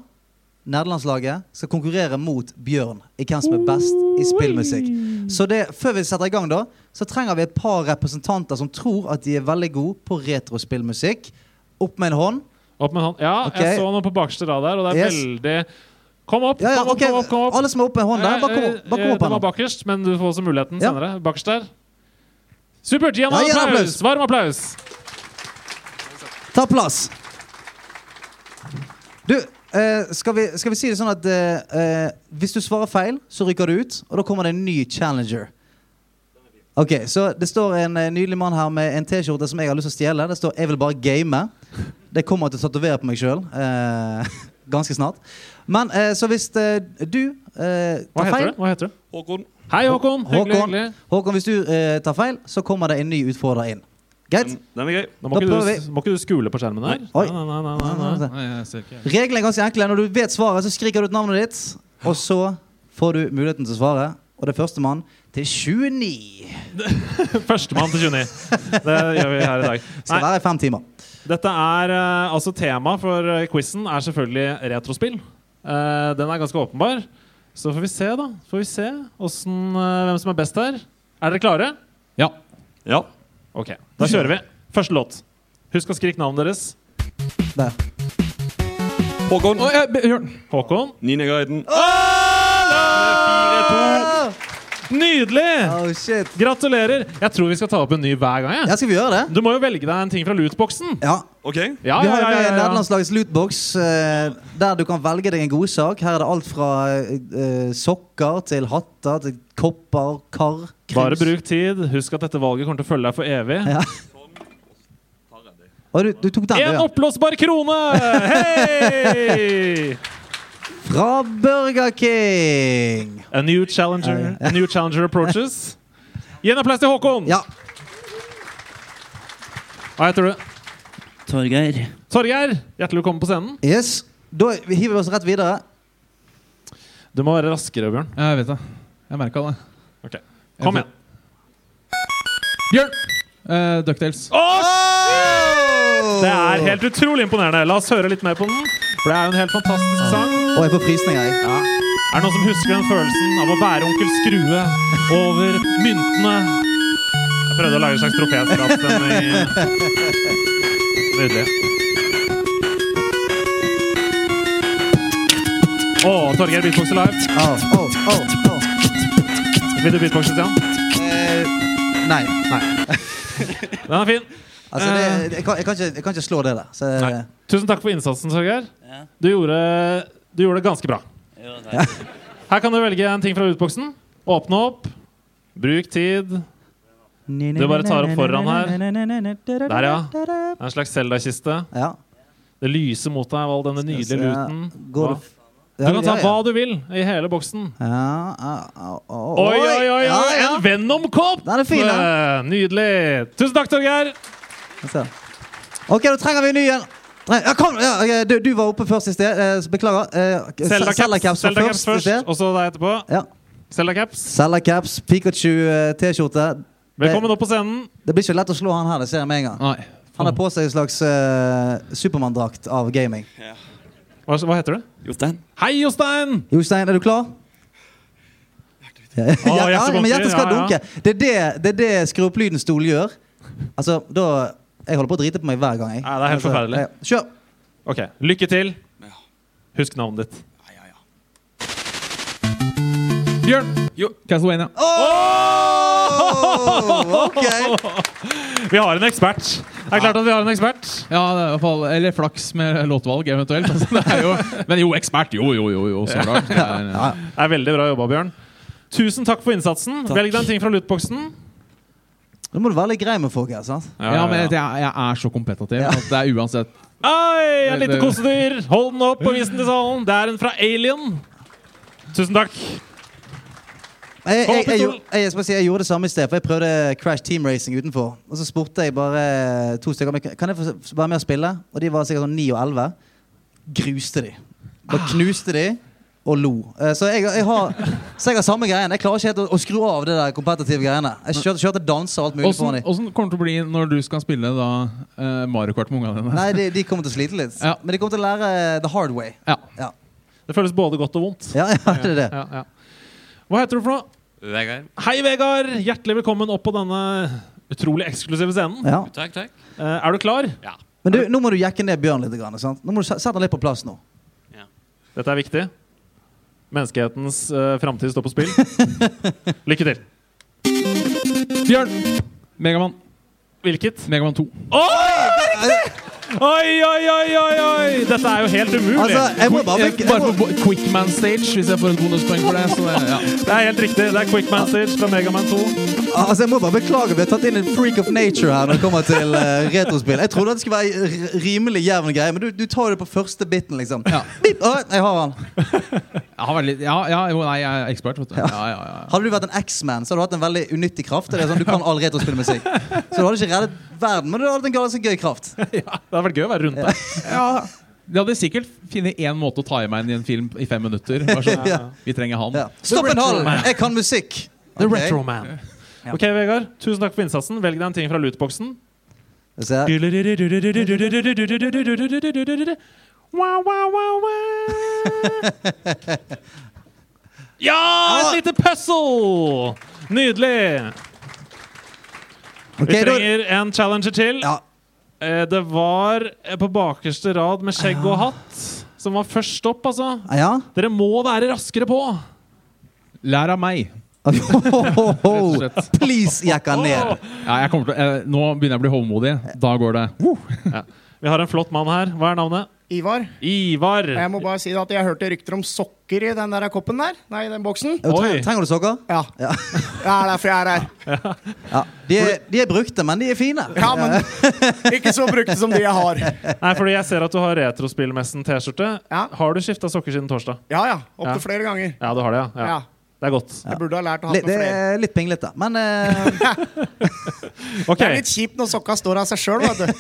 B: nederlandslaget, skal konkurrere mot Bjørn i hvem som er best i spillmusikk. Så det, før vi setter i gang, da, så trenger vi et par representanter som tror at de er veldig gode på retrospillmusikk. Opp med en hånd.
A: Opp med hånd. Ja,
B: Ok.
A: jeg så noe på bakerste rad der, og det er
B: Yes.
A: veldig Kom opp,
B: Ja, ja,
A: kom opp,
B: ok,
A: kom opp! kom opp.
B: Alle som er oppe med hånden der, bare kom opp. Bare kom
A: Eh,
B: opp
A: det
B: her
A: var
B: nå.
A: bakerst, men du får også muligheten
B: Ja.
A: senere. Bakerst der. Supert! Gi ham en
B: Ja, gi ham
A: applaus!
B: applaus.
A: Varm applaus!
B: Ta plass. Du, eh, skal, vi, skal vi si det sånn at eh, eh, hvis du svarer feil, så rykker du ut, og da kommer det en ny challenger. Ok, så Det står en eh, nydelig mann her med en T-skjorte som jeg har lyst til å stjele. Det står 'Jeg vil bare game'. Det kommer jeg til å tatovere på meg sjøl eh, ganske snart. Men eh, så hvis eh, du eh,
A: Hva
B: tar
A: heter
B: feil
A: du? Hva heter du?
D: Håkon.
A: Hei, Håkon. Hyggelig,
B: Håkon.
A: hyggelig.
B: Håkon, hvis du eh, tar feil, så kommer det en ny utfordrer inn. Greit?
D: Den, den er gøy.
A: Nå
B: Da
A: må ikke,
B: prøver
A: du, må ikke du skule på skjermen der.
B: Oi.
A: Nei, nei, nei, nei, nei.
C: Nei, jeg ser ikke.
B: Reglene er ganske enkle. Når du vet svaret, så skriker du ut navnet ditt. Og så får du muligheten til å svare. Og det er førstemann til 29.
A: Førstemann til 29. Det gjør vi her i dag.
B: Skal være i fem timer.
A: Dette er eh, altså tema for uh, quizen er selvfølgelig retrospill. Eh, den er ganske åpenbar. Så får vi se, da. Får vi se hvordan, eh, hvem som er best her. Er dere klare?
C: Ja.
D: Ja.
A: Ok, da kjører vi. Første låt. Husk å skrike navnet deres.
B: Der.
D: Håkon.
C: Å, jeg, Bjørn.
A: Håkon.
D: Ninja Guiden.
A: Nydelig!
B: Oh, shit.
A: Gratulerer. Jeg tror vi skal ta opp en ny hver gang.
B: Ja,
A: Jeg.
B: skal vi gjøre det?
A: Du må jo velge deg en ting fra lootboxen.
B: Ja.
D: OK.
A: Ja,
B: Vi har jo
A: ja, ja,
B: med
A: ja, ja.
B: nederlandslagets lootbox, eh, der du kan velge deg en godsak. Her er det alt fra eh, sokker til hatter til kopper, kar, krus.
A: Bare bruk tid. Husk at dette valget kommer til å følge deg for evig.
B: Ja. Å, du, du tok den, du,
A: En
B: ja.
A: oppblåsbar krone! Hei!
B: Fra Burger King.
A: A new challenger, a new challenger approaches. Gi en applaus til Håkon!
B: Ja.
A: Hva heter du?
E: Torgeir.
A: Torgeir, hjertelig velkommen på scenen.
B: Yes. Da hiver vi oss rett videre.
A: Du må være raskere, Bjørn.
C: Jeg vet det. Jeg merka det.
A: Ok, Kom igjen.
C: Bjørn! Eh, Ducktails.
A: Det er helt utrolig imponerende. La oss høre litt mer på den. For det er jo en helt fantastisk sang.
B: Og jeg får frysninger, jeg.
A: Ja. Er det noen som husker den følelsen av å bære onkel Skrue over myntene? Jeg prøvde å lage en slags troféskapsstemning. Nydelig. Å, Torgeir beatboxer live.
B: Au, au, au, au.
A: Vil du beatboxe, Stian?
B: Eh, nei.
A: Den er fin.
B: Altså, det, jeg, kan, jeg, kan ikke, jeg kan ikke slå det der. Så,
A: Eh.
B: eh,
A: Nei. Tusen takk for innsatsen, Torgeir.
E: Ja.
A: Du gjorde, du gjorde det ganske bra.
E: Jo, takk.
A: Her kan du velge en ting fra utboksen. Åpne opp. Bruk tid. Det
B: Du
A: bare tar opp foran her.
B: Der,
A: ja. er en slags Zelda-kiste.
B: ja.
A: Det lyser mot deg av all denne nydelige luten.
B: Går
A: Hva?
B: det f-
A: Du kan ta
B: ja,
A: hva du vil i hele boksen.
B: Ja, ja, ja, ja.
A: Oi, oi, oi!
B: Ja,
A: oi
B: ja.
A: En Venom-kopp!
B: Den er fin, den.
A: Eh, Nydelig. Tusen takk, Torgeir.
B: Jeg ser. OK, da trenger vi en ny en. Tre- Ja, kom, ja, ok, du, du var oppe først i sted. eh, så Beklager. Eh,
A: Selda
B: Selda-caps
A: caps,
B: var
A: Zelda caps
B: først i
A: først,
B: sted.
A: og så deg etterpå.
B: Ja.
A: Selda caps.
B: Selda-caps, Pikachu-T-skjorte.
A: Velkommen opp på scenen.
B: eh, Det blir ikke lett å slå han her, det ser jeg med en gang.
C: Nei.
B: Han har på seg en slags uh, Supermann-drakt av gaming.
A: Hva, hva heter du?
D: Jostein.
A: Hei, Jostein!
B: Jostein, er du klar? Ja, ja, ja,
A: hjertet
B: men hjertet skal
A: banker, ja, ja.
B: dunke. Det er det, det, er det skru opp lyden-stol gjør. Altså, da Jeg holder på å drite på meg hver gang. Jeg.
A: Ja, det er helt
B: altså,
A: forferdelig.
B: ja. Kjør.
A: Ok, Lykke til.
D: Ja.
A: Husk navnet ditt.
D: Ja, ja, ja.
C: Bjørn!
D: Jo.
C: Castlevania.
B: Oh, ok.
A: Vi har en ekspert. Det er klart at vi har en ekspert.
C: Ja, det er i hvert fall, Eller flaks med låtvalg, eventuelt. Altså, det er jo, men jo, ekspert. Jo, jo, jo. jo så klart. Det er-
A: Det er Veldig bra jobba, Bjørn. Tusen takk for innsatsen. Velg deg en ting fra lootboxen.
B: Nå må du være litt grei med folk her, sant?
C: Ja, men jeg, jeg er så kompetativ at det er uansett
A: Hei, et lite
C: Det- det-
A: kosedyr! Hold den opp og vis den til salen. Det er en fra Alien. Tusen takk. Kom
B: Jeg, jeg,
A: opp,
B: jeg,
A: pistol!
B: gjorde- jeg, skal bare si, jeg gjorde det samme i sted, for jeg prøvde Crash Team Racing utenfor. Og så spurte jeg bare eh, to stykker om jeg kan- kan jeg få s- være med og spille. Og de var sikkert sånn 9 og 11. Gruste de. Bare knuste de og lo. Eh, Så jeg, jeg, har, så jeg har samme greien. Jeg klarer ikke helt å, å skru av det der kompetitive greiene. Jeg kjørte, kjørte danser og alt mulig foran
C: Åssen
B: de.
C: åssen kommer det til å bli når du skal spille da eh, Mario Kart med ungene dine?
B: Nei, de, de kommer til å slite litt.
C: Ja.
B: Men de kommer til å lære eh, the hard way.
C: Ja.
B: Ja,
A: Det føles både godt og vondt.
B: ja, ja det er det.
C: Ja, ja.
A: Hva heter du for noe?
D: Vegard.
A: Hei, Vegard! Hjertelig velkommen opp på denne utrolig eksklusive scenen.
B: Ja.
D: Takk, takk.
A: Eh, er du klar?
D: Ja.
B: Men du, nå må du jekke ned Bjørn litt. Grann, sant? Nå må du se- sette han litt på plass nå.
A: Dette er viktig. Menneskehetens uh, framtid står på spill. Lykke til.
C: Bjørn! Megamann.
A: Hvilket?
C: Megamann 2.
A: Oi, oi, oi, oi, oi! Dette er jo helt umulig.
B: Altså, jeg må bare
C: Eh,
B: jeg
C: Bare
B: må-
C: på bo- Quickman Stage, hvis jeg får et bonuspoeng for det. Så det ja.
A: Det er helt riktig. Det er Quick Message fra Megaman 2.
B: Altså, Jeg må bare beklage, vi har tatt inn en freak of nature her når det kommer til eh, retrospill. Jeg trodde det skulle være r- rimelig jevn greie, men du, du tar jo det på første biten, liksom.
C: Ja.
B: Bip, å, jeg har han.
C: Jeg har vært litt, ja, ja, jo, nei, jeg er ekspert, vet du. Ja, ja, ja.
B: Hadde du vært en X-man, så hadde du hatt en veldig unyttig kraft. Det er sånn, du kan all retrospillmusikk. Så du hadde ikke reddet verden, men du hadde hatt en ganske gøy kraft.
A: Det hadde vært gøy å være rundt der.
C: Ja, de hadde sikkert funnet én måte å ta i meg inn i en film i fem minutter. Bare sånn,
B: Ja.
C: Vi trenger han.
B: Ja. Stopp en hal! Jeg kan musikk!
A: The
B: Ok.
A: Retro Man.
B: Ja.
A: Ok, Vegard. Tusen takk for innsatsen. Velg deg en ting fra lootboxen.
B: Skal vi se her.
A: Wow, wow, wow, wow. Ja! Et lite puzzle! Nydelig.
B: Ok,
A: Vi
B: da-
A: trenger en challenger til.
B: ja.
A: Eh, Det var eh, på bakerste rad med skjegg og hatt som var først opp, altså.
B: ja.
A: Dere må være raskere på.
C: Lær av meg.
B: Oh,
C: Rett og slett.
B: please, jekk han ned.
C: Ja, jeg kommer til, å- eh, nå begynner jeg å bli håndmodig. Da går det.
A: Vi har en flott mann her. Hva er navnet?
F: Ivar,
A: Ivar.
F: og jeg må bare si at jeg hørte rykter om sokker i den der koppen der. Nei, den boksen.
B: Jo,
A: Oi.
B: tre- Trenger du sokker?
F: Ja.
B: Ja.
F: Det er derfor jeg er her.
B: Ja. De, er, de er brukte, men de er fine.
F: Ja, men ikke så brukte som de jeg har.
A: Nei, fordi jeg ser at du har Retrospillmessen-T-skjorte.
F: Ja.
A: Har du skifta sokker siden torsdag?
F: Ja ja,
A: Ja.
F: opptil flere ganger.
A: Ja, du har det, ja. ja.
F: Ja.
A: Det er godt.
F: Jeg burde ha lært å ha
B: Litt, det
F: med flere.
B: er litt pinglete, men eh,
A: Ok,
F: Det er litt kjipt når sokka står av seg sjøl, vet du.
B: Når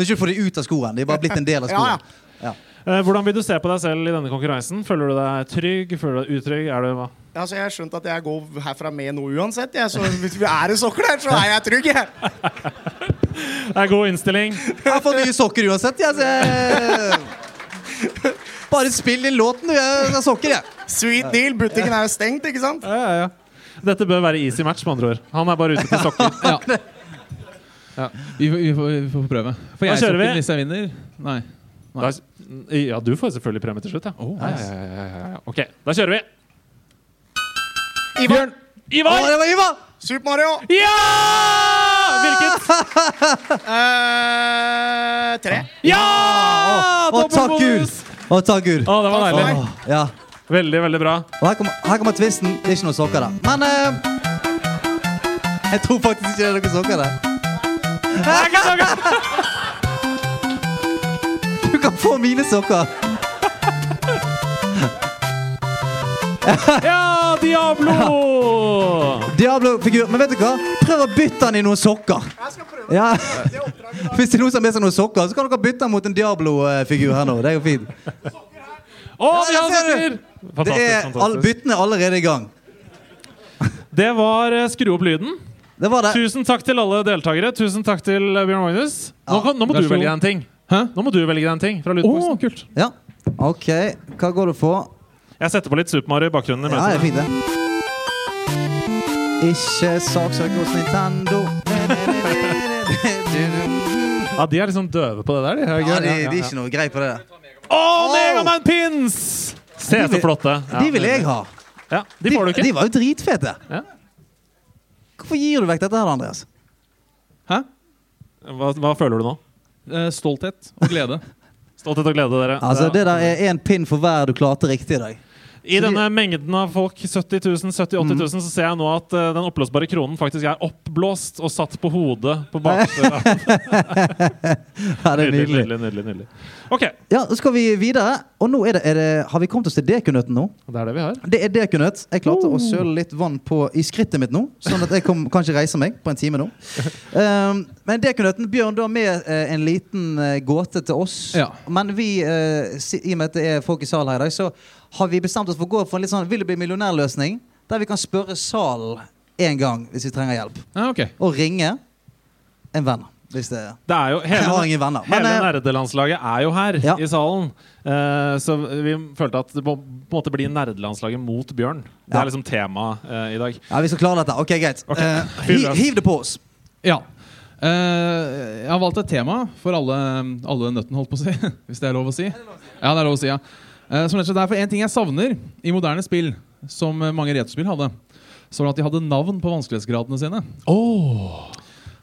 B: ikke du får de ut av skoen. De er bare blitt en del av
F: Ja, ja.
B: skoen.
A: eh, Hvordan vil du se på deg selv i denne konkurransen? Føler du deg trygg? Føler du deg utrygg? Er du hva?
F: Altså, jeg har skjønt at jeg går herfra med noe uansett, jeg. Så hvis vi er det sokker der, så er jeg trygg, jeg.
A: Det er god innstilling.
B: Jeg har fått nye sokker uansett. Jeg, så jeg bare spill den låten, du. Jeg har sokker, jeg.
F: Sweet deal. Butikken er jo stengt, ikke sant?
A: Ja, ja, ja. Dette bør være easy match, med andre ord. Han er bare ute etter sokker.
C: Ja. Ja. Vi, får, vi, får, vi får prøve. Får
A: Da
C: jeg
A: kjører vi.
C: sokken hvis jeg vinner? Nei.
A: Da, ja, du får selvfølgelig premie til slutt, ja. ja, ja, ja, ja, ja, ja. Ok, da kjører vi.
F: Ivar,
B: Å,
A: Ivar!
B: det var Ivar!
F: Super Mario.
A: Ja! Hvilket?
F: Eh, tre.
A: Ja! Ah,
B: Å, takk Gud. Å, takk Gud.
A: Å, det var deilig.
B: Å, ja.
A: Veldig, veldig bra.
B: Og her kommer, her kommer twisten. Det er ikke noen sokker der. Men eh, jeg tror faktisk ikke det er noen sokker der. Du kan få mine sokker.
A: Ja, Diablo!
B: Diablo-figur. Men vet du hva? Prøv å bytte den i noen sokker.
F: Jeg skal prøve
B: Ja.
F: det oppdraget.
B: Hvis det er noen som har med seg noen sokker, så kan dere bytte den mot en Diablo-figur her nå. Det er jo fint.
A: Å, vi har
B: Ja, der ser
A: sokker!
B: du! Det
A: Fantastisk.
B: er, all,
A: fantastisk.
B: byttene er allerede i gang.
A: Det var eh, Skru opp lyden.
B: Det var det.
A: Tusen takk til alle deltakere. Tusen takk til eh, Bjørn Magnus. Nå, kan, nå må
C: Vær
A: du
C: så god.
A: velge deg en ting.
C: Hæ?
A: Nå må du velge deg en ting fra
C: Å,
A: lydboksen.
C: kult.
B: Ja. OK, hva går du for?
A: Jeg setter på litt Super Mario i bakgrunnen.
B: Ja, det
A: imens.
B: er fint, det. Ikke saksøk hos Nintendo.
A: Ja, de er liksom døve på det der. De. Er
B: Ja,
A: gøy.
B: de, de er ikke noe grei på det. der.
A: Å, Megaman Pins! Se så flotte. Ja,
B: De vil jeg ha.
A: Ja, de
B: De,
A: får du ikke.
B: de var jo dritfete.
A: Ja.
B: Hvorfor gir du vekk dette her, Andreas?
C: Hæ?
A: Hva, hva føler du nå?
C: Eh, Stolthet og glede.
A: Stolthet og glede, dere.
B: Altså, Det Altså, der Mm. er én pin for hver du klarte riktig i dag.
A: I
B: Så de-
A: denne mengden av folk, 70 000, 70 000, 80 000, så ser jeg nå at eh, den oppblåsbare kronen faktisk er oppblåst og satt på hodet på baksida.
B: Ja, det er
A: nydelig,
B: nydelig.
A: nydelig, nydelig, nydelig. OK.
B: Ja, så skal vi videre. Og nå er det, er det Har vi kommet oss til dekunøtten nå?
A: Det er det vi har.
B: Det er dekunøtt. Jeg klarte å søle litt vann på, i skrittet mitt nå, sånn at jeg kom, kan ikke reise meg på en time nå. Um, men dekunøtten Bjørn, du har med eh, en liten eh, gåte til oss.
C: Ja.
B: Men vi, eh, si, i og med at det er folk i salen her i dag, så har vi bestemt oss for å gå for en litt sånn Vil du bli millionær-løsning, der vi kan spørre salen én gang hvis vi trenger hjelp.
C: Ja, ok.
B: Og ringe en venn. Hvis det
A: Det er jo
B: Jeg har
A: hele,
B: ingen venner. Men
A: hele
B: eh,
A: nerdelandslaget er jo her
B: Ja.
A: i salen. Eh, så vi følte at det må, på en måte bli nerdelandslaget mot Bjørn. Det
B: Ja.
A: er liksom temaet eh, i dag.
B: ja, vi skal klare dette. OK, greit.
A: Ok.
B: Eh,
A: Fyr
B: hi-
A: løs.
B: hiv det på oss.
C: Ja. Eh, jeg har valgt et tema for alle, alle nøttene, holdt på å si. Hvis det er lov å si. Ja, det er lov å si, ja. Eh, som rett og slett er for en ting jeg savner i moderne spill, som eh, mange retrospill hadde, så var det at de hadde navn på vanskelighetsgradene sine.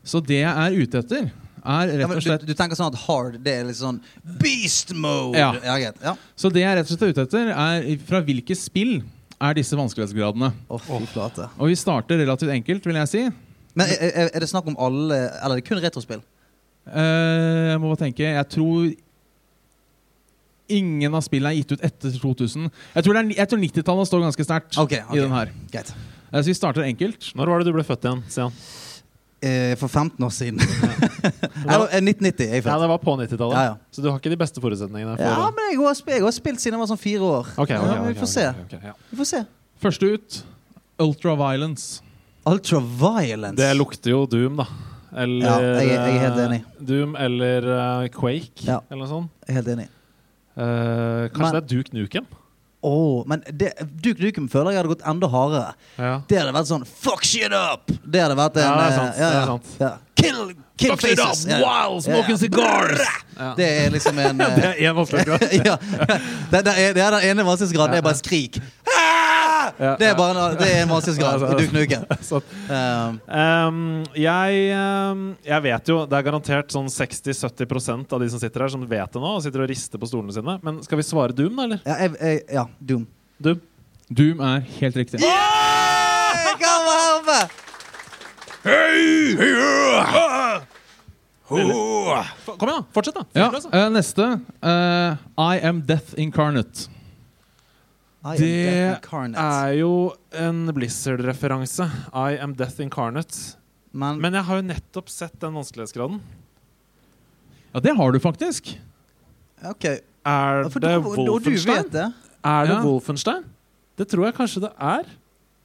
C: Så det jeg er ute etter, er rett
B: Ja, men
C: og
B: du,
C: slett
B: du tenker sånn at hard det er litt sånn beast mode.
C: Ja.
B: greit. Ja.
C: Så det jeg rett og slett er ute etter, er fra hvilke spill er disse vanskelighetsgradene.
B: Å, fy flate.
C: Og vi starter relativt enkelt, vil jeg si.
B: Men er, er- er det snakk om alle Eller er det kun retrospill?
C: Eh, jeg må bare tenke. Jeg tror ingen av spillene er gitt ut etter 2000. Jeg tror, det er- jeg tror 90-tallet står ganske sterkt
B: Ok,
C: i
B: ok.
C: den her.
B: Greit.
C: Eh, så vi starter enkelt.
A: Når var det du ble født igjen, Stian?
B: Eh, for 15 år siden. Eller eh, 1990 er jeg
A: Ja,
B: født.
A: det var på 90-tallet.
B: Ja, ja.
A: Så du har ikke de beste forutsetningene. For,
B: Ja, men jeg har, sp- jeg har spilt siden jeg var sånn fire år.
A: Ok, ok,
B: Ja,
A: ok,
B: men vi
A: ok,
B: får se.
A: ok, ok, ja.
B: Vi får se.
C: Første ut Ultraviolence.
B: Ultraviolence.
A: Det lukter jo Doom, da. Eller
B: Ja, jeg er- jeg er helt
A: eh,
B: enig.
A: Doom eller eh, Quake
B: Ja.
A: eller noe sånt.
B: Jeg er Helt enig.
A: Eh, kanskje
B: Men-
A: det er Duke Nukem?
B: Åh, men det, Duke Nukem føler jeg hadde gått enda hardere.
A: Ja.
B: Det hadde vært sånn Fuck shit up! Det hadde vært en
A: Ja, det er
B: eh,
A: sant,
B: Ja,
A: det er
B: ja.
A: sant.
B: Ja. Kill, kill
A: Fuck shit up,
B: faces! Ja, ja.
A: Wow!
B: Ja, ja.
A: Smoking cigars!
B: Det er liksom en eh,
A: Det er én vanskelighetsgrad.
B: ja. det, det, er, det er den ene vanskelighetsgraden. Det er bare skrik. Ah!
A: Ja,
B: Det er, bare, en- det er en vanskelighetsgrad i Duke Nukem.
A: Sant.
B: Um,
A: Ehm, jeg, ehm, jeg vet jo Det er garantert sånn 60-70 av de som sitter her, som vet det nå og sitter og rister på stolene sine. Men skal vi svare Doom, da, eller?
B: ja, jeg, jeg, ja, Doom.
A: Doom?
C: Doom er helt riktig.
B: Hey, kom og helpe!
A: F- Kom igjen, da! Fortsett, da!
C: Ja,
A: Fyr
B: altså.
A: løs, da.
C: eh, Neste. eh, I Am Death Incarnate.
B: I am
A: Det
B: Death Incarnate.
A: er jo en Blizzard-referanse. I am Death Incarnate.
B: Men,
A: Men jeg har jo nettopp sett den vanskelighetsgraden.
C: Ja, det har du faktisk.
B: OK.
A: Er
B: For
A: det
B: da- og du vet
A: Wolfenstein?
B: det?
A: Er det
C: Ja.
A: Wolfenstein? Det tror jeg kanskje det er.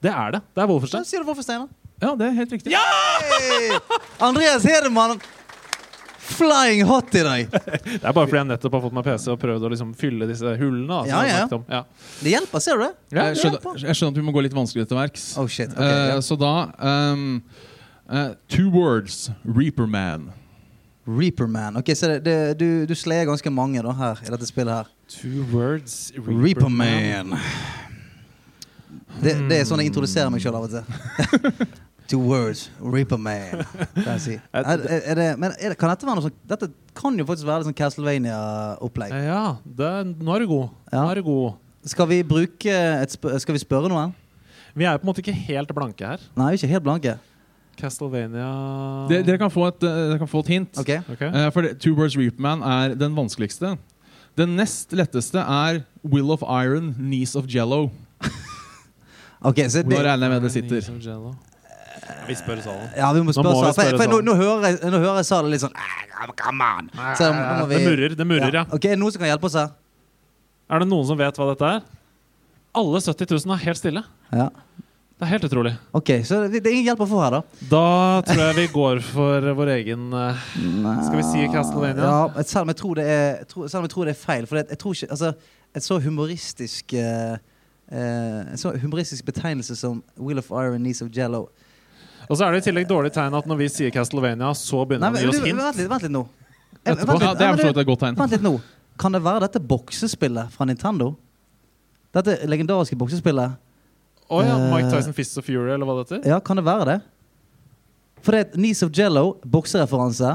A: Det er det. Det er
B: Da
A: Wolfenstein.
B: sier du Wolfenstein, da.
C: Ja, det er helt riktig.
B: Hey! Andreas Hedemann flying hot i dag.
A: Det er bare fordi jeg nettopp har fått meg PC og prøvd å liksom fylle disse hullene. Da, som
B: Ja,
A: jeg har
B: ja.
A: snakket om. ja.
B: Det hjelper, ser du det?
C: Jeg, Eh, skjønner, jeg skjønner at vi må gå litt vanskelig til verks.
B: Oh shit. ok,
C: Eh,
B: ja.
C: Så da ehm, eh, Two words. Reaper Man.
B: Reaperman. Ok, så det, det, du, du sleier ganske mange da her i dette spillet her.
A: Two words
B: Reaperman. Det, det er sånn jeg introduserer meg sjøl av og til. Two words. Reaperman, kan jeg si. Er, er, er det, men er det, kan dette være noe sånn Dette kan jo faktisk være litt sånn Castlevania-opplegg.
A: Ja, det, nå er du god. Nå
B: Ja.
A: er du god.
B: Skal vi bruke et sp Skal vi spørre noen?
A: Vi er jo på en måte ikke helt blanke her.
B: Nei, vi er ikke helt blanke.
A: Castlevania
C: Dere, dere, kan få et, eh, dere kan få et hint.
B: Ok,
A: Ok.
C: Eh, for det, Two Birds Reaper Man er den vanskeligste. Den nest letteste er Will of Iron, Niece of Jello.
B: Ok, så
C: Nå
B: det,
C: regner jeg med det sitter.
A: Vi spør salen.
B: ja, vi må
A: Nå
B: spørre
A: må vi
B: salen.
A: spørre
B: For,
A: sånn.
B: for nå,
A: salen.
B: nå hører jeg, nå hører jeg salen litt sånn "Ah, Come on! Så nå må
A: Det
B: vi-
A: murrer, det murrer, ja.
B: Ok, er det noen som kan hjelpe oss her?
A: Er det noen som vet hva dette er? Alle 70 000 er helt stille.
B: Ja.
A: Det er helt utrolig.
B: Ok, så det, det er ingen hjelp å få her, da.
A: Da tror jeg vi går for vår egen eh, Skal vi si Castlevania?
B: Ja, men selv om jeg tror det er, jeg tror, selv om jeg tror det er feil. For det, jeg tror ikke Altså, et så humoristisk eh, eh, En så humoristisk betegnelse som Wheel of Iron, Knees of Jello
A: Og så er det i tillegg dårlig tegn at når vi sier Castlevania, så
B: Nei,
A: begynner
B: men,
A: de å gi
B: du,
A: oss hint.
B: vent litt, vent litt nå. Eh,
A: Etterpå.
B: Vent
C: Ja,
B: litt,
C: det er
B: nei,
C: for så vidt
B: men
C: et godt tegn.
B: vent litt nå. Kan det være dette boksespillet fra Nintendo? Dette legendariske boksespillet?
A: Å ja, Mike
B: Eh,
A: Tyson Fist of Fury, eller hva det heter.
B: Ja, kan det være det? For det er et Knees of Jello, boksereferanse.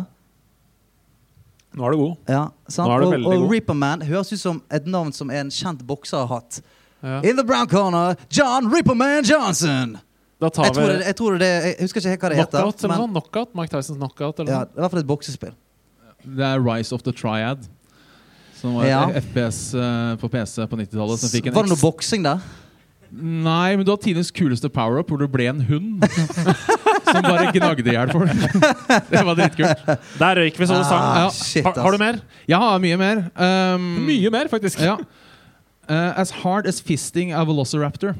A: Nå er du god.
B: Ja, sant?
A: Nå er du
B: Og,
A: veldig
B: og
A: god.
B: Reaperman høres ut som et navn som en kjent bokser har hatt.
A: Ja.
B: In the brown corner, John Ripperman Johnson.
A: Da tar
B: Jeg
A: vi
B: tror det, jeg, tror det, jeg husker ikke helt hva det heter.
A: knockout, eller
B: men-
A: noe sånt. knockout. Mike Tysons knockout, eller
B: ja,
A: noe.
B: det er i hvert fall et boksespill.
C: Det er Rise of the Triad. Som var
B: Ja.
C: et FPS eh, på PC på 90-tallet. Som fikk en
B: Var det
C: eks-
B: noe boksing der?
C: Nei, men du hadde tidenes kuleste power-up, hvor du ble en hund. som bare gnagde i hjel folk. det var dritkult.
A: Der røyk vi så det sang.
C: Ja.
B: Ah, shit,
A: Har, har du mer?
C: Jeg har mye mer. Um,
A: Mye mer, faktisk.
C: Ja. Eh, as hard as fisting a velociraptor.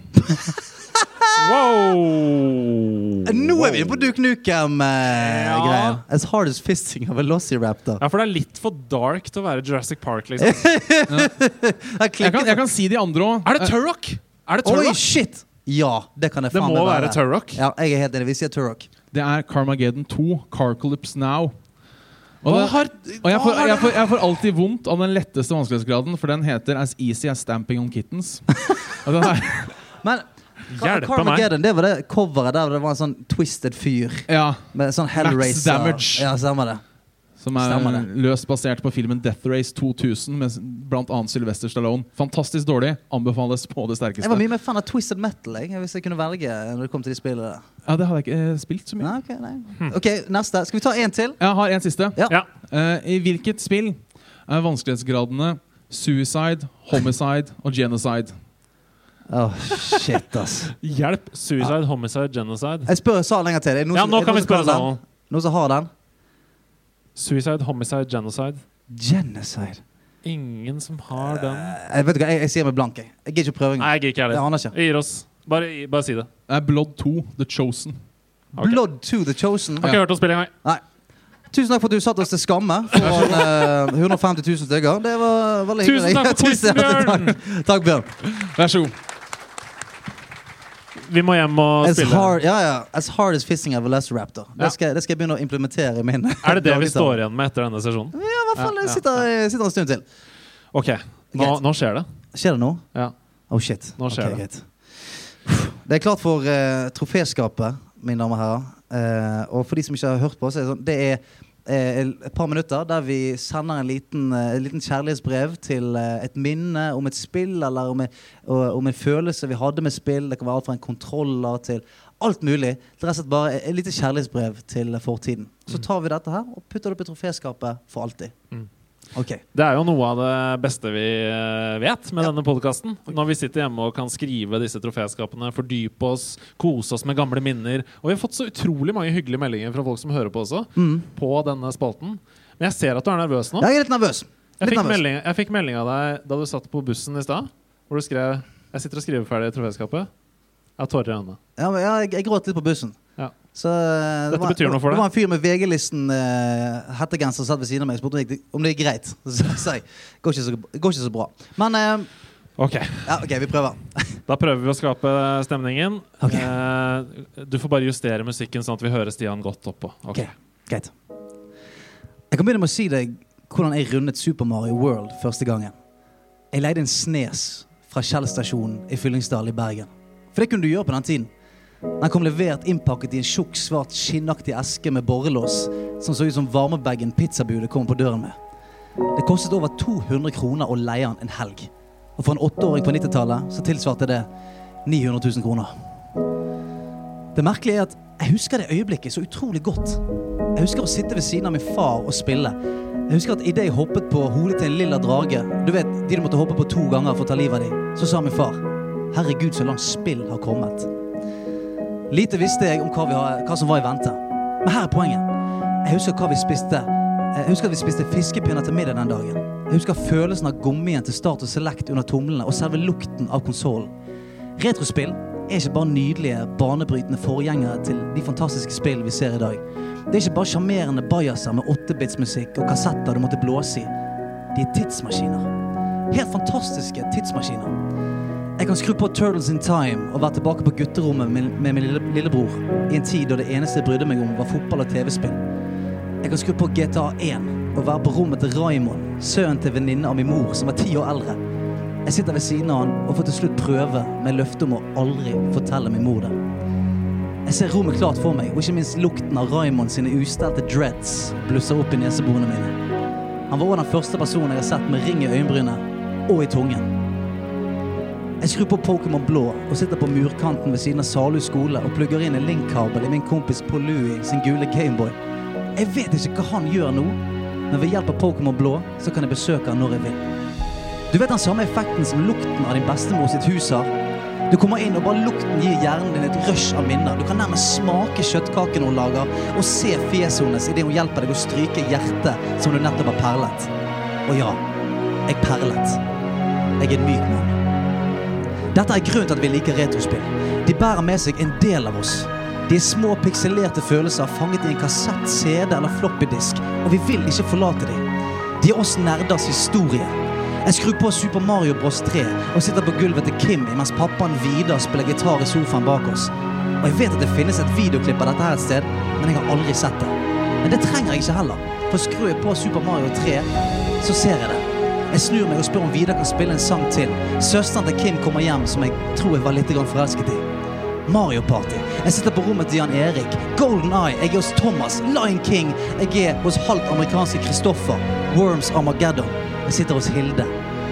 A: Wow!
B: altså. Nå er vi på Duke Nukem-greia. As hard as fisting of a lossyraptor.
A: Ja, for det er litt for dark til å være Jurassic Park, liksom.
B: Jeg
C: Jeg kan,
B: klikker
C: jeg kan si de andre òg.
A: Er det Turrock? Er det
B: Oi,
A: Turrock?
B: shit! Ja, det kan jeg
A: Det
B: faen
A: må
B: meg
A: være Turrock.
B: Ja, jeg er helt enig. Vi sier Turok.
C: Det er Carmageddon 2, Carcalypse Now. Og,
A: Hva
C: det,
A: har,
C: og jeg,
A: hva
C: får,
A: har
C: jeg,
A: det-
C: får, jeg får alltid vondt av den letteste vanskelighetsgraden, for den heter As Easy As Stamping On Kittens. Og den er,
B: Men Car-
A: Hjelpe meg.
B: Carmageddon, det var det coveret der det var en sånn twisted fyr
C: ja,
B: med sånn Hellraiser.
C: damage.
B: Ja, stemmer det.
C: som er
B: Stemmer det.
C: løst basert på filmen Death Race 2000 med s- blant annet Sylvester Stallone. Fantastisk dårlig. Anbefales på det
B: Jeg var
C: sterkeste.
B: mye mer fan av twisted metal jeg, hvis jeg kunne velge når det kom til de spillene der.
C: Ja, det hadde jeg ikke eh, spilt så mye.
B: Nei, Hm. ok, nei. ok, neste. Skal vi ta en til?
C: Jeg har en siste.
B: Ja.
A: Ja.
C: Eh, I hvilket spill er vanskelighetsgradene suicide, homicide og genocide?
B: Åh, shit, ass.
A: Hjelp. Suicide, homicide, genocide.
B: Jeg spør salen en gang til. Er det noen
A: Ja,
B: som-
A: nå
B: er det
A: kan vi
B: noen som
A: spørre
B: den?
A: salen.
B: Noen som har den?
A: Suicide, homicide, genocide.
B: Genocide.
A: Ingen som
B: Eh,
A: har den.
B: Jeg vet du hva, jeg, jeg sier meg blank. Jeg Jeg gidder ikke å prøve engang.
A: Nei, jeg gidder ikke
B: Jeg
A: heller.
B: aner ikke.
A: Vi gir oss. Bare, bare si det.
C: Det er Blood 2, The Chosen.
A: Ok.
B: Blood to the Chosen.
A: Har ikke hørt om spillet engang.
B: Tusen takk for at du satte oss til skamme foran eh, 150 000 stykker. Det var veldig
A: Tusen takk for quizen, Bjørn!
B: Bjørn. Takk, Bjørn.
C: Vær så god.
A: Vi må hjem og
B: As
A: spille.
B: hard, ja, ja. As hard as fisting of a velociraptor.
A: Ja.
B: Det, skal, det skal jeg begynne å implementere i min
A: Er det det vi
B: dagligdag.
A: står igjen med etter denne sesjonen?
B: Ja, i hvert fall jeg sitter, jeg sitter en stund til.
A: OK. Nå,
B: Greit.
A: nå skjer det.
B: Skjer det noe?
A: Ja.
B: Oh, shit.
A: Nå skjer
B: Ok, greit. Det er klart for eh, troféskapet, mine damer og herrer. Eh, og for de som ikke har hørt på, så er det sånn Det er eh, et par minutter der vi sender en liten, eh, et liten kjærlighetsbrev til eh, et minne om et spill, eller om, en- og- om en følelse vi hadde med spill. Det kan være alt fra en kontroller til alt mulig. Det er rett og slett bare et lite kjærlighetsbrev til fortiden. Så tar vi dette her og putter det opp i troféskapet for alltid.
A: Mm.
B: Ok.
A: Det er jo noe av det beste vi eh, vet med denne podkasten. Når vi sitter hjemme og kan skrive disse troféskapene, fordype oss, kose oss med gamle minner. Og vi har fått så utrolig mange hyggelige meldinger fra folk som hører på også,
B: Mm.
A: på denne spalten. Men jeg ser at du er nervøs nå.
B: Ja, jeg er litt nervøs.
A: Jeg
B: Litt
A: fikk,
B: nervøs.
A: melding, jeg fikk melding av deg da du satt på bussen i stad, hvor du skrev Jeg sitter og skriver ferdig troféskapet. Jeg har tårer i øynene.
B: Ja, men, ja, jeg, jeg gråt litt på bussen.
A: Ja.
B: Så, eh,
A: Dette betyr noe for deg?
B: Det var en fyr med VG-listen eh, hettegenser satt ved siden av meg. Jeg spurte om det gikk- om det gikk greit. Så sa jeg går ikke så, går ikke så bra. Men eh,
A: Ok,
B: ja, OK, vi prøver.
A: Da prøver vi å skape stemningen.
B: Ok.
A: Eh, du får bare justere musikken sånn at vi hører Stian godt oppå.
B: Ok, Greit. Jeg kan begynne med å si deg hvordan jeg rundet Super Mario World første gangen. Jeg leide en snes fra Kjell stasjon i Fyllingsdalen i Bergen. For det kunne du gjøre på den tiden. Den kom levert innpakket i en tjukk, svart, skinnaktig eske med borrelås som så ut som varmebagen pizzabudet kom på døren med. Det kostet over 200 kroner å leie den en helg. Og for en åtteåring på 90-tallet så tilsvarte det 900 000 kroner. Det merkelige er at jeg husker det øyeblikket så utrolig godt. Jeg husker å sitte ved siden av min far og spille. Jeg husker at idet jeg hoppet på hodet til en lilla drage Du vet, de du måtte hoppe på to ganger for å ta livet av dem. Så sa min far Herregud, så langt spill har kommet. Lite visste jeg om hva, vi har, hva som var i vente. Men her er poenget. Jeg husker hva vi spiste. Jeg husker at vi spiste fiskepinner til middag den dagen. Jeg husker følelsen av gummien til Start og Select under tomlene og selve lukten av konsollen. Retrospill er ikke bare nydelige, banebrytende forgjengere til de fantastiske spill vi ser i dag. Det er ikke bare sjarmerende bajaser med 8-bits-musikk og kassetter du måtte blåse i. De er tidsmaskiner. Helt fantastiske tidsmaskiner. Jeg kan skru på Turtles in Time og være tilbake på gutterommet med, med min lille, lillebror i en tid da det eneste jeg brydde meg om, var fotball og TV-spill. Jeg kan skru på GTA1 og være på rommet til Raymond, sønnen til venninne av min mor, som var ti år eldre. Jeg sitter ved siden av han og får til slutt prøve med løfte om å aldri fortelle min mor det. Jeg ser rommet klart for meg, og ikke minst lukten av Raymond sine ustelte dreads blusser opp i neseborene mine. Han var også den første personen jeg har sett med ring i øyenbrynet og i tungen. Jeg skrur på Pokémon Blå og sitter på murkanten ved siden av Salu skole og plugger inn en link-kabel i min kompis Paul Louie sin gule Gameboy. Jeg vet ikke hva han gjør nå, men ved hjelp av Pokémon Blå så kan jeg besøke han når jeg vil. Du vet den samme effekten som lukten av din bestemor sitt hus har? Du kommer inn, og bare lukten gir hjernen din et rush av minner. Du kan nærmest smake kjøttkaken hun lager, og se fjeset hennes idet hun hjelper deg å stryke hjertet som du nettopp har perlet. Og ja, jeg perlet. Jeg er en myk mann. Dette er grunnen til at vi liker retrospill. De bærer med seg en del av oss. De er små, pikselerte følelser fanget i en kassett, CD eller floppydisk, og vi vil ikke forlate dem. De er oss nerders historie. Jeg skrur på Super Mario Bros. 3 og sitter på gulvet til Kim mens pappaen Vidar spiller gitar i sofaen bak oss. Og jeg vet at det finnes et videoklipp av dette her et sted, men jeg har aldri sett det. Men det trenger jeg ikke heller, for skrur jeg på Super Mario 3, så ser jeg det. Jeg snur meg og spør om Vidar kan spille en sang til. Søsteren til Kim kommer hjem, som jeg tror jeg var litt grann forelsket i. Mario Party. Jeg sitter på rommet til Jan Erik. Golden Eye. Jeg er hos Thomas. Lion King. Jeg er hos halvt amerikanske Christopher. Worms Armageddon. Jeg sitter hos Hilde.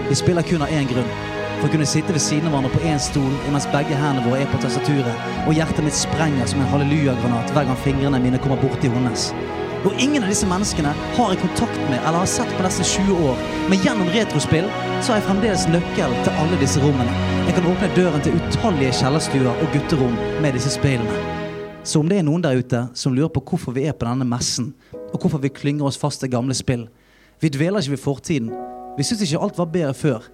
B: Vi spiller kun av én grunn. For å kunne sitte ved siden av hverandre på én stol mens begge hendene våre er på tastaturet, og hjertet mitt sprenger som en hallelujagranat hver gang fingrene mine kommer borti hennes. Og ingen av disse menneskene har jeg kontakt med eller har sett på nesten 20 år. Men gjennom retrospill så har jeg fremdeles nøkkel til alle disse rommene. Jeg kan åpne døren til utallige kjellerstuer og gutterom med disse speilene. Så om det er noen der ute som lurer på hvorfor vi er på denne messen, og hvorfor vi klynger oss fast til gamle spill, vi dveler ikke ved fortiden. Vi syns ikke alt var bedre før.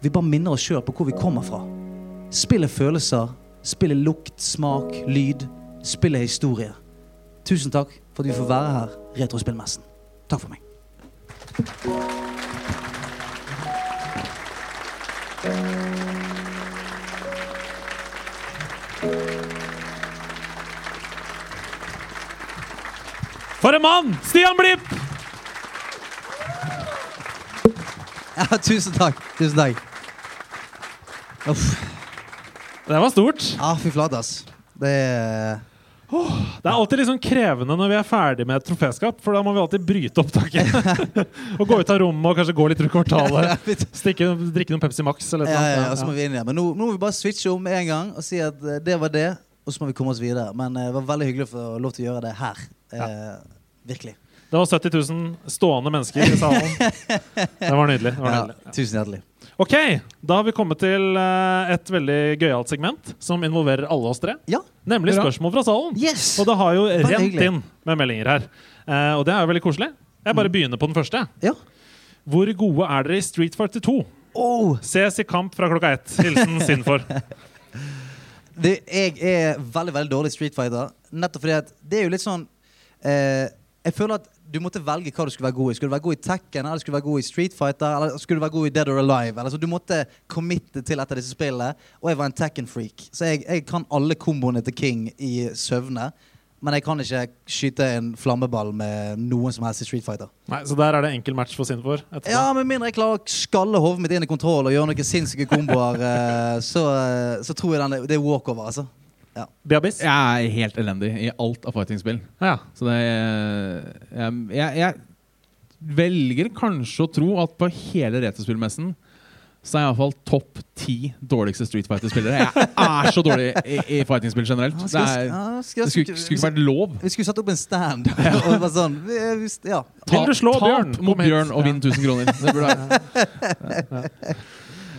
B: Vi bare minner oss sjøl på hvor vi kommer fra. Spill er følelser. Spill er lukt, smak, lyd. Spill er historie. Tusen takk for at vi får være her, Retrospillmessen. Takk for meg.
A: For en mann! Stian Blipp!
B: Ja, tusen takk. Tusen takk. Uff.
A: Det var stort.
B: Ja, fy flate, ass. Det er
A: Det er alltid liksom krevende når vi er ferdig med et troféskap, for da må vi alltid bryte opptaket. og gå ut av rommet og kanskje gå litt rundt kvartalet. Stikke, drikke noen Pepsi Max eller
B: ja, ja, ja, og så må
A: noe.
B: vi inn igjen. Men nå, nå må vi bare switche om en gang og si at eh, det var det. Og så må vi komme oss videre. Men eh, det var veldig hyggelig å få lov til å gjøre det her. Eh, virkelig.
A: Det var 70 000 stående mennesker i salen. Det var nydelig. Det var
B: Ja,
A: nydelig.
B: tusen hjertelig.
A: Ok, da har vi kommet til eh, et veldig gøyalt segment som involverer alle oss tre.
B: Ja.
A: Nemlig
C: Hurra.
A: spørsmål fra salen.
B: Yes!
A: Og det har jo rent
B: hyggelig.
A: inn med meldinger her. Eh, og det er jo veldig koselig. Jeg
B: Mm.
A: bare begynner på den første.
B: Ja.
A: Hvor gode er dere i Street Fighter 2?
B: Oh,
A: Ses i kamp fra klokka ett. Hilsen Sinfor.
B: det, jeg er veldig, veldig dårlig i Street Fighter. Nettopp fordi at det er jo litt sånn eh, Jeg føler at du måtte velge hva du skulle være god i. Skulle du være god i Tekken, eller skulle du være god i Street Fighter, eller skulle du være god i Dead or Alive? Eller, så du måtte committe til et av disse spillene. Og jeg var en Tekken-freak. Så jeg, jeg kan alle komboene til King i søvne. Men jeg kan ikke skyte en flammeball med noen som helst i Street Fighter.
A: Nei, Så der er det enkel match for Sinfor. etterpå.
B: Ja, Med mindre jeg klarer å skalle hodet mitt inn i kontroll og gjøre noen sinnssyke komboer, eh, så, så tror jeg den, det er walkover, altså.
A: Diabis? Ja.
C: Jeg er helt elendig i alt av fightingspill. Så det eh, jeg, jeg, jeg velger kanskje å tro at på hele retrospillmessen så er jeg iallfall topp ti dårligste Street Fighter-spillere. Jeg er så dårlig i, i fightingspill generelt.
B: Ja,
C: Det,
B: skal-
C: er,
B: ja, skal-
C: det skulle, skulle ikke vært lov.
B: Vi skulle satt opp en stand. og det var sånn, vi, vi- ja.
A: Vil du slå
C: tap
A: Bjørn?
C: mot
A: Kom hit.
C: Bjørn og vinn 1000 kroner. Det burde være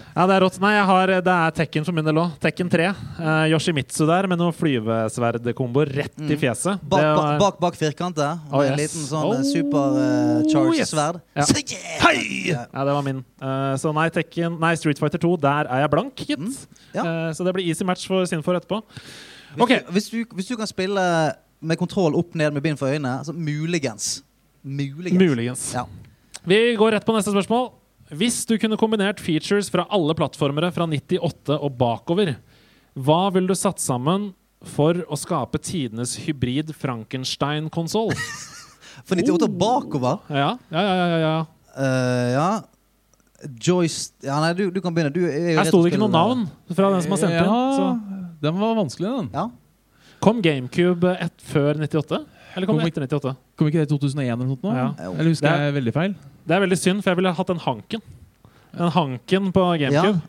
A: ja, det er rått. Nei, jeg har, eh, det er Tekken for min del òg. Tekken 3. Eh, Yoshimitsu der med noe flyvesverdkombo rett
B: Mm.
A: i fjeset.
B: Bak,
A: Det
B: bak,
A: var-
B: bak, bak firkantet. Med
A: Oh,
B: En
A: yes.
B: liten sånn
A: Oh,
B: eh, super eh, charged
A: yes.
B: sverd.
A: Ja.
B: Så yeah! Ja.
A: Ja, det var min. Eh, så nei, Tekken, nei, Street Fighter 2, der er jeg blank, gitt.
B: Mm. ja.
A: Eh, så det blir easy match for Sinfor etterpå.
B: Hvis,
A: Ok.
B: du, hvis, du, hvis du kan spille med kontroll opp ned med bind for øynene, så muligens Muligens.
A: Muligens.
B: Ja.
A: Vi går rett på neste spørsmål. Hvis du kunne kombinert features fra alle plattformere fra 98 og bakover, hva ville du satt sammen for å skape tidenes hybrid Frankenstein-konsoll?
B: For 98
A: Oh.
B: bakover
A: Ja, ja, ja, ja, ja.
B: eh, Ja. Joyce Ja, nei, du, du kan begynne. Du er jo
A: Her sto det ikke noe navn
B: retrospiller.
A: fra den som har sendt inn.
C: Ja,
A: Så.
C: den var vanskelig, den.
B: Ja.
A: Kom GameCube ett før 98? Eller kom
C: Kom-
A: det etter 98?
C: Kom ikke det i 2001 eller noe sånt? nå?
A: Ja.
C: Eller husker
A: Det er-
C: jeg veldig feil?
A: Det er veldig synd, for jeg ville hatt en Hanken. En Hanken på
B: Ja.
A: GameCube.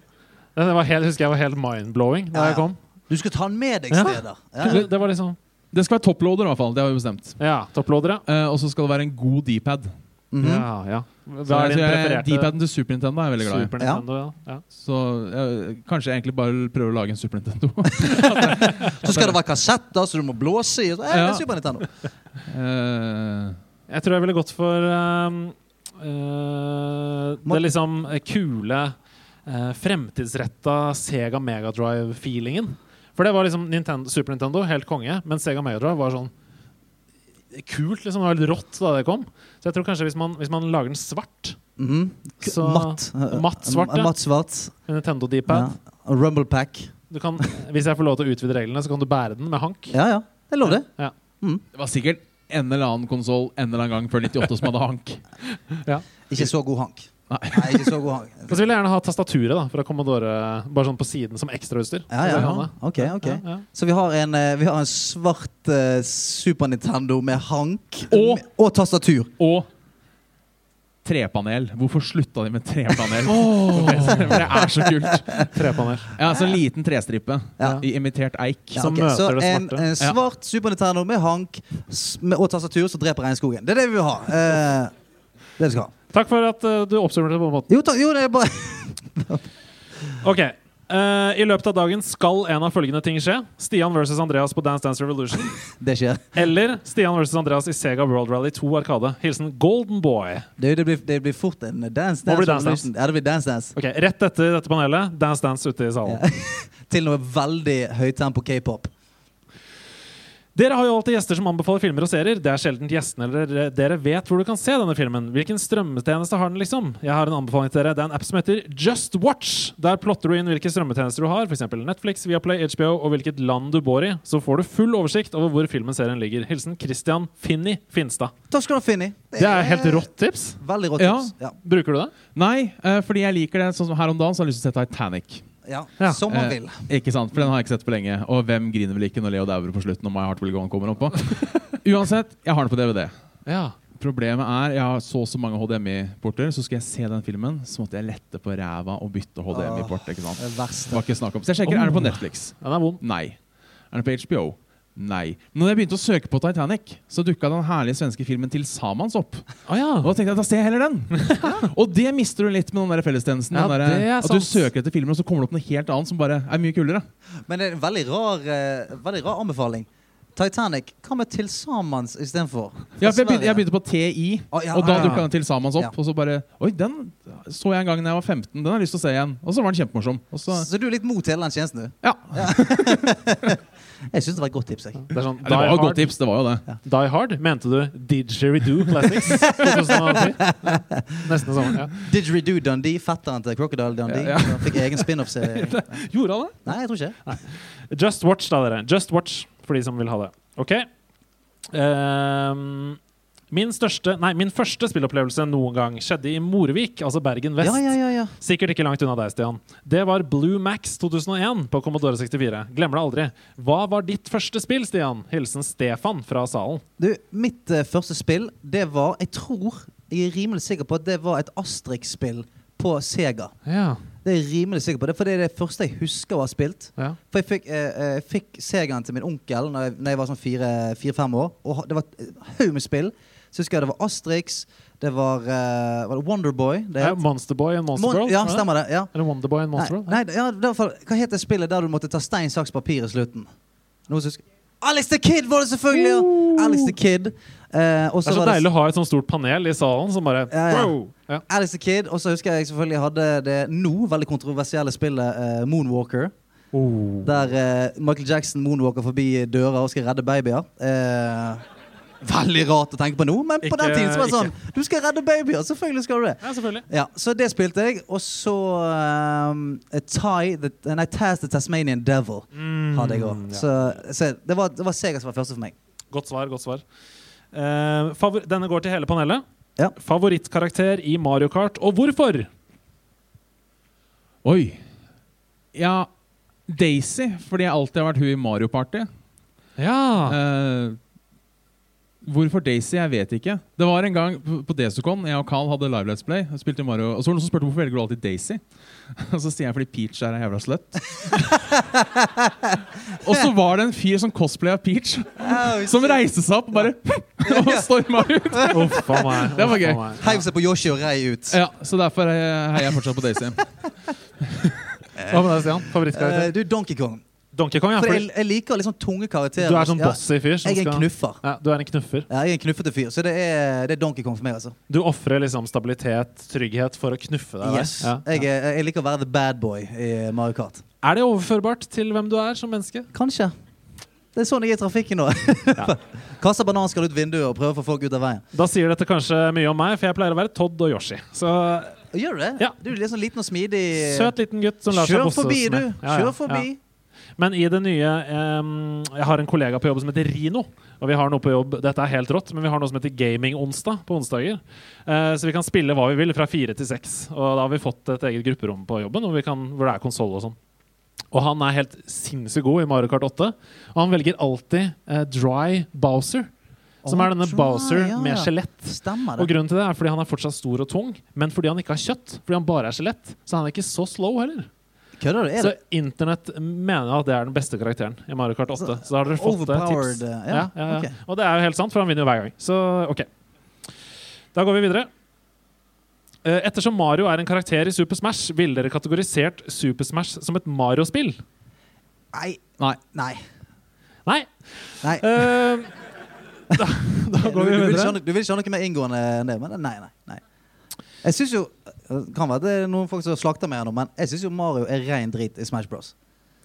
A: Det var helt, husker jeg var helt mind-blowing da
B: Ja, ja.
A: jeg kom.
B: Du skal ta den med deg
A: Ja.
B: steder.
A: Det,
B: Ja.
A: det var liksom
C: Det skal være toploader, i hvert fall. Det har vi bestemt.
A: Ja, topploader, ja.
C: Eh, og så skal det være en god D-pad.
B: Mhm.
A: ja, ja.
C: Så
A: Hva er
C: jeg-
A: din
C: jeg-
A: prefererte
C: D-paden til Super Nintendo er jeg veldig glad i.
A: Super Nintendo? Ja. Ja.
C: Så jeg, kanskje jeg egentlig bare prøver å lage en Super Nintendo.
B: Så skal det være kassetter, så du må blåse i. og Så, eh, det er Super Nintendo.
C: Eh,
A: Jeg tror jeg ville gått for um, eh, det liksom kule, uh, fremtidsretta Sega Megadrive-feelingen. For det var liksom Nintendo, Super Nintendo, helt konge, men Sega Megadrive var sånn kult. liksom, Det var helt rått da det kom. Så jeg tror kanskje hvis man, hvis man lager den svart,
B: Mhm. K-
A: Så-
B: matt. eh,
A: matt svart,
B: eh,
A: ja.
B: Matt svart.
A: med Nintendo
B: Ja.
A: Deepad
B: Rumble pack.
A: du kan, Hvis jeg får lov til å utvide reglene, så kan du bære den med hank.
B: Ja, ja. Det er lov, det.
C: det var sikkert en eller annen konsoll en eller annen gang før 98 som hadde hank.
B: Ikke så god hank.
C: Nei.
B: Nei, ikke så god hank.
A: Og så vil jeg gjerne ha tastaturet da, fra Commodore bare sånn på siden som ekstrautstyr.
B: Ja,
A: Så det
B: ja.
A: kan jeg.
B: Ok, ok.
A: Ja, ja.
B: Så vi har en, eh, vi har en svart eh, Super Nintendo med hank
C: Og-
B: Med- og tastatur.
C: Og trepanel. Hvorfor slutta de med trepanel? det er så kult.
A: Trepanel.
C: Ja, så altså en liten trestripe
B: Ja.
C: i imitert eik.
B: Ja,
A: Som
B: ok.
A: møter
B: så
A: det
B: en,
A: svarte.
B: eh, svart Super Nintendo med hank s- med, og tastatur som dreper regnskogen. Det er det vi vil ha. Eh, det vi skal ha.
A: Takk for at eh, du oppsummerte på den måten.
B: Jo, takk, jo, det er bare
A: Ok. eh, I løpet av dagen skal en av følgende ting skje. Stian versus Andreas på Dance Dance Revolution.
B: Det skjer.
A: Eller Stian versus Andreas i Sega World Rally 2 Arkade. Hilsen Golden Boy.
B: Det, det, blir, det blir fort en dance
A: Må
B: dance.
A: bli Dance
B: revolution. Ja, det blir dance dance.
A: Ok, Rett etter dette panelet, Dance Dance ute i salen.
B: Ja. Til noe veldig høytempo k-pop.
A: Dere har jo alltid gjester som anbefaler filmer og serier. Det er sjelden gjestene eller dere vet hvor du kan se denne filmen. Hvilken strømmetjeneste har den, liksom? Jeg har en anbefaling til dere. Det er en app som heter Just Watch. Der plotter du inn hvilke strømmetjenester du har, f.eks. Netflix, Viaplay, HBO og hvilket land du bor i. Så får du full oversikt over hvor filmen serien ligger. Hilsen Christian Finni Finstad.
B: Takk skal du ha, Finni.
A: Det er helt rått tips.
B: Veldig rått.
C: Ja.
B: tips. Ja.
A: Bruker du det?
C: Nei, eh, fordi jeg liker det. Sånn som her om dagen så har jeg lyst til å se Titanic.
B: Ja.
A: Ja.
B: Som man
C: Eh,
B: vil.
C: Ikke sant, For den har jeg ikke sett på lenge. Og hvem griner vel ikke når Leo dauer på slutten? Og My Heart Will Go On kommer oppå Uansett, jeg har den på DVD.
A: Ja.
C: Problemet er, jeg har så og så mange HDMI-porter, så skal jeg se den filmen, så måtte jeg lette på ræva og bytte HDMI-port. ikke sant?
B: Det er verst.
C: Det var ikke snakk om. Så jeg sjekker, er den på Netflix?
A: Den er vond.
C: Nei. Er den på HBO? Nei. Men når jeg begynte å søke på Titanic, så dukka den herlige svenske filmen til Samans opp.
A: Å ja.
C: Og da tenkte jeg, da ser jeg heller den! Og det mister du litt med den der fellestjenesten.
A: Ja,
C: den der,
A: det er
C: at
A: sant.
C: du søker etter filmer, og så kommer det opp noe helt annet som bare er mye kulere.
B: Men det er en veldig rar, eh, veldig rar anbefaling. Titanic. Hva med Til sammens istedenfor?
C: Ja,
A: Sånn
C: for jeg begynte, jeg begynte på TI,
B: Å, ja,
C: og da
B: ja, ja.
C: dukka den til Samans opp.
B: Ja.
C: Og så bare Oi, den så jeg en gang da jeg var 15. Den har jeg lyst til å se igjen. Og så var den kjempemorsom. Og så,
B: Så du er litt mot hele den tjenesten, du?
C: ja,
B: Jeg syns det var et godt tips. jeg.
A: Det er sånn
C: Ja, Det
A: Die
C: var jo et godt
A: Hard.
C: tips. det var jo det
A: Die Hard, mente du Didgeridoo Classics? 2010. Nesten det samme. Ja.
B: Didgeridoo Dundee, fetteren til Crocodile Dundee.
C: Ja, ja.
B: som Fikk egen spin-off-serie.
C: Gjorde han det?
B: Nei, jeg tror ikke.
A: Just Watch, da, dere. Just Watch for de som vil ha det. Ok. Ehm, min største Nei, min første spillopplevelse noen gang skjedde i Morvik, altså Bergen vest.
B: Ja, ja, ja, ja.
A: Sikkert ikke langt unna deg, Stian. Det var Blue Max 2001 på Commodore 64. Glemmer det aldri. Hva var ditt første spill, Stian? Hilsen Stefan fra salen.
B: Du, mitt eh, første spill, det var Jeg tror Jeg er rimelig sikker på at det var et Asterix-spill på Sega.
A: Ja.
B: Det er jeg rimelig sikker på. Det er fordi det er det første jeg husker å ha spilt.
A: ja.
B: For jeg fikk, eh, eh, jeg fikk Segaen til min onkel da jeg, når jeg var sånn fire- fire-fem år. Og ha- det var et haug med spill. Så husker jeg det var Asterix, det var, eh, var det Wonderboy det het?
A: Monsterboy and Monster
B: Mon-
A: Girl?
B: Ja,
A: var det?
B: stemmer det. ja
A: Eller Wonderboy and Monster
B: Nei,
A: Girl?
B: nei ja, i hvert fall, hva het det spillet der du måtte ta stein, saks, papir i slutten? Noe som husker Alice the Kid var det selvfølgelig! Ja. Alice the Kid. Eh, og
A: Oh! Det
B: så
A: er så
B: var
A: deilig
B: det
A: å ha et sånt stort panel i salen som bare
B: Ja, ja.
A: Wow! Ja.
B: Alice the Kid, og så husker jeg selvfølgelig jeg hadde det nå veldig kontroversielle spillet eh, Moonwalker.
A: Oh.
B: Der eh, Michael Jackson moonwalker forbi døra og skal redde babyer. Eh, veldig rart å tenke på nå, men på den
A: Ikke-
B: tiden så var det sånn Du skal redde babyer! Selvfølgelig skal du det.
A: ja, selvfølgelig.
B: Ja, Så det spilte jeg. Og så eh, Tie the, Nei, Taz the Tasmanian Devil. hadde jeg òg.
A: Mm, ja.
B: Så, så det, var, det var Sega som var første for meg.
A: Godt svar. godt svar. Eh, favor Denne går til hele panelet.
B: Ja.
A: Favorittkarakter i Mario Kart, og hvorfor?
C: Oi. Ja, Daisy, fordi jeg alltid har vært hun i Mario Party.
A: Ja,
C: Eh, Hvorfor Daisy? Jeg vet ikke. Det var en gang på på Desicon, jeg og Carl hadde live Let's Play. og Spilte Mario, og så var det noen som spurte hvorfor velger du alltid Daisy. Og så sier jeg fordi Peach er ei jævla slutt. og så var det en fyr som cosplaya Peach, som reiste seg opp og bare og storma ut.
A: Uff a meg.
C: Det var
A: uff a
C: gøy.
A: meg.
B: Heiv seg på Yoshi og rei ut.
C: Ja, Så derfor eh, heier jeg fortsatt på Daisy. Hva med deg, Stian?
A: Favorittkarakter?
B: Eh, du, Donkey Kong.
A: Donkey Kong, ja.
B: For
A: Fordi
B: jeg, jeg liker litt sånn tunge karakterer.
A: du er sånn
B: Ja,
A: bossy fyr. Som
B: Jeg er en
A: skal...
B: knuffer.
A: ja, du er en knuffer.
B: Ja, jeg er en knuffete fyr, så det er, det er Donkey Kong for meg, altså.
A: Du ofrer liksom stabilitet, trygghet, for å knuffe deg. der.
B: Yes.
A: Ja.
B: Jeg, er, jeg liker å være the bad boy i Mario Kart.
A: Er det overførbart til hvem du er som menneske?
B: Kanskje. Det er sånn jeg er i trafikken nå. Kaster bananskall ut vinduet og prøver å få folk ut av veien.
A: Da sier dette kanskje mye om meg, for jeg pleier å være Todd og Yoshi. Så
B: Gjør du det?
A: Ja.
B: Du er litt sånn liten og smidig.
A: søt liten gutt som lar seg
B: Kjør
A: bosses
B: forbi, du.
A: med. Ja, ja,
B: Kjør forbi.
A: ja. Men i det nye em, Jeg har en kollega på jobb som heter Rino. Og vi har noe på jobb, Dette er helt rått, men vi har noe som heter Gaming-onsdag på onsdager. Eh, så vi kan spille hva vi vil fra fire til seks. Og da har vi fått et eget grupperom på jobben hvor, vi kan, hvor det er konsoll og sånn. Og han er helt sinnssykt god i Mario Kart 8. Og han velger alltid eh, Dry Bowser, som
B: Å,
A: er denne
B: dry,
A: Bowser
B: ja,
A: med
B: ja.
A: skjelett.
B: Stemmer
A: Og
B: det.
A: grunnen til det er fordi han er fortsatt stor og tung, men fordi han ikke har kjøtt. Fordi han bare er skjelett. Så han er ikke så slow heller.
B: Kødder du? Er
A: Så
B: det?
A: internett mener at det er den beste karakteren i Mario Kart 8. Så da har dere fått eh,
B: Overpowered
A: tips.
B: eh,
A: Ja, ja, ja.
B: ok.
A: Og det er jo helt sant, for han vinner jo hver gang. Så ok. Da går vi videre. Eh, Ettersom Mario er en karakter i Super Smash, ville dere kategorisert Super Smash som et Mario-spill?
B: Nei.
C: Nei.
B: Nei.
A: Nei.
B: Nei.
A: Eh, da, da
B: Du,
A: går vi
B: du, vil ikke ha
A: videre.
B: noe- du vil ikke ha noe mer inngående enn det? Men nei, nei. nei. Jeg synes jo det Kan være det er noen folk som slakter meg her nå, men jeg syns jo Mario er rein drit i Smash Bros.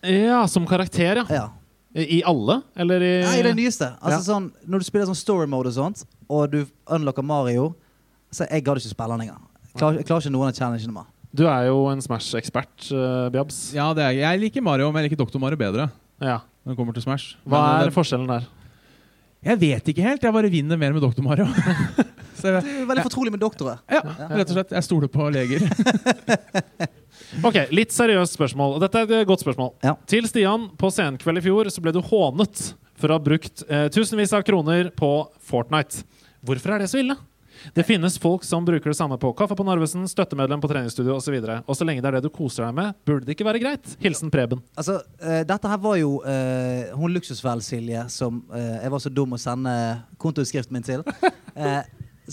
A: Ja, som karakter, ja.
B: Ja.
A: I i alle? Eller i
B: Nei, det nyeste. Altså sånn, Når du spiller sånn story mode og sånt, og du unlocker Mario Så jeg gadd ikke spille den engang. Jeg Klarer, jeg klarer ikke noen av challengene mer.
A: Du er jo en Smash-ekspert, eh, Bjabs.
C: Ja, det er, jeg liker Mario, men jeg liker Doktor Mario bedre.
A: Ja.
C: Når det kommer til Smash.
A: Hva
C: Men, eh,
A: er forskjellen der?
C: Jeg vet ikke helt. Jeg bare vinner mer med Doktor Mario. så jeg,
B: Du er veldig fortrolig med doktorer.
C: ja, rett og slett. Jeg stoler på leger.
A: Ok, Litt seriøst spørsmål. og Dette er et godt spørsmål.
B: Ja.
A: Til Stian. På Senkveld i fjor så ble du hånet for å ha brukt eh, tusenvis av kroner på Fortnite. Hvorfor er det så ille? Det finnes folk som bruker det samme på Kaffe på Narvesen, støttemedlem på treningsstudio osv. Og så lenge det er det du koser deg med, burde det ikke være greit. Hilsen Preben.
B: Altså, eh, Dette her var jo eh, hun luksusfellen-Silje som eh, jeg var så dum å sende kontoutskriften min til. Eh,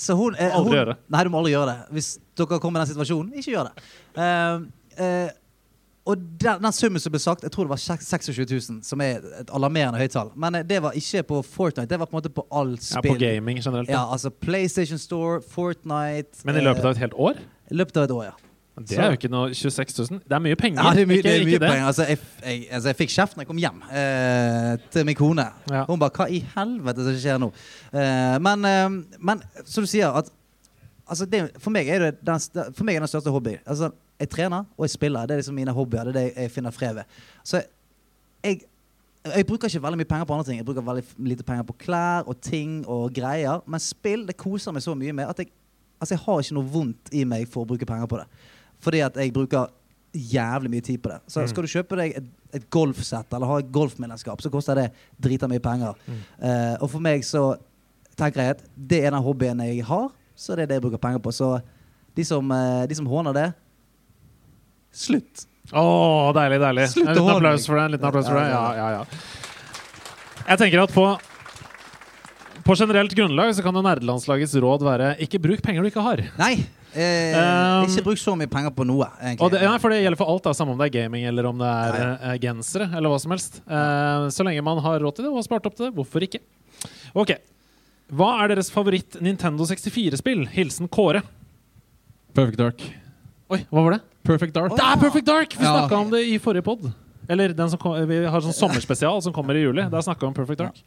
B: så hun, eh,
A: Aldri
B: hun,
A: gjøre det.
B: Nei, du må aldri gjøre det. Hvis dere kommer i den situasjonen, ikke gjør det. Eh, eh, og den, den summen som ble sagt, jeg tror det var sjek- 26 000, som er et alarmerende høyt tall. Men eh, det var ikke på Fortnite, det var på en måte på all
A: Ja,
B: spill.
A: på gaming generelt.
B: Ja,
A: da.
B: altså PlayStation Store, Fortnite
A: Men i løpet av et helt år?
B: eh, i løpet av et år, ja.
A: Det er jo ikke noe 26 000. Det er mye penger.
B: Ja, det er mye,
A: Ikke-
B: det er
A: ikke
B: mye
A: det.
B: penger. Altså, jeg, jeg, altså, jeg fikk kjeft når jeg kom hjem eh, til min kone.
A: Ja.
B: Hun bare 'Hva i helvete som skjer nå?' Eh, men, eh, men som du sier at altså, det, for, meg er det den, st- for meg er det den største hobbyen. Altså, jeg trener og jeg spiller. Det er liksom mine hobbyer. Det er det jeg finner fred ved. Så jeg, jeg bruker ikke veldig mye penger på andre ting. Jeg bruker veldig f- lite penger på klær og ting og greier. Men spill det koser meg så mye med at jeg, altså, jeg har ikke noe vondt i meg for å bruke penger på det. Fordi at jeg bruker jævlig mye tid på det. Så
A: Mm.
B: skal du kjøpe deg et, et golfsett eller ha et golfmedlemskap, så koster det drita mye penger.
A: Mm.
B: Eh, og for meg så tenker jeg at det er den hobbyen jeg har, så det er det jeg bruker penger på. Så de som, eh, de som håner det Slutt.
A: Å, deilig, deilig.
B: Slutt
A: en
B: å
A: liten
B: holde
A: applaus
B: meg.
A: for deg. En liten applaus for
B: Ja,
A: deg. Ja,
B: ja,
A: ja, ja. Jeg tenker at på på generelt grunnlag så kan jo nerdelandslagets råd være ikke bruk penger du ikke har.
B: Nei. Eh,
A: Um,
B: ikke bruk så mye penger på noe, egentlig.
A: Og det, nei, for det gjelder for alt, da, samme om det er gaming eller om det er eh, gensere eller hva som helst. Eh, så lenge man har råd til det og har spart opp til det, hvorfor ikke? Ok. Hva er deres favoritt Nintendo 64-spill? Hilsen Kåre.
C: Perfect Dark.
A: Oi, hva var det?
C: Perfect Dark.
B: Å,
A: Det
B: ja.
A: er Perfect Dark! Vi
C: Ja.
A: snakka om det i forrige pod. Eller den som kom, vi har sånn sommerspesial som kommer i juli. Der snakka vi om Perfect Dark.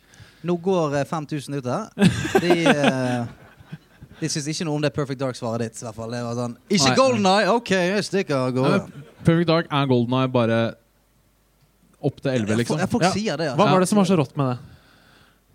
B: Nå går eh, 5000 ut her. De, eh, de syns ikke noe om det Perfect Dark-svaret ditt. I hvert fall. Det var sånn Ikke
C: Nei.
B: Golden Eye! OK, jeg stikker av gårde.
C: Ja, Perfect Dark er Golden Eye bare opp til 11,
B: Ja,
C: liksom.
B: folk- ja, folk
A: Ja.
B: sier det. altså.
A: Hva var det som var så rått med det?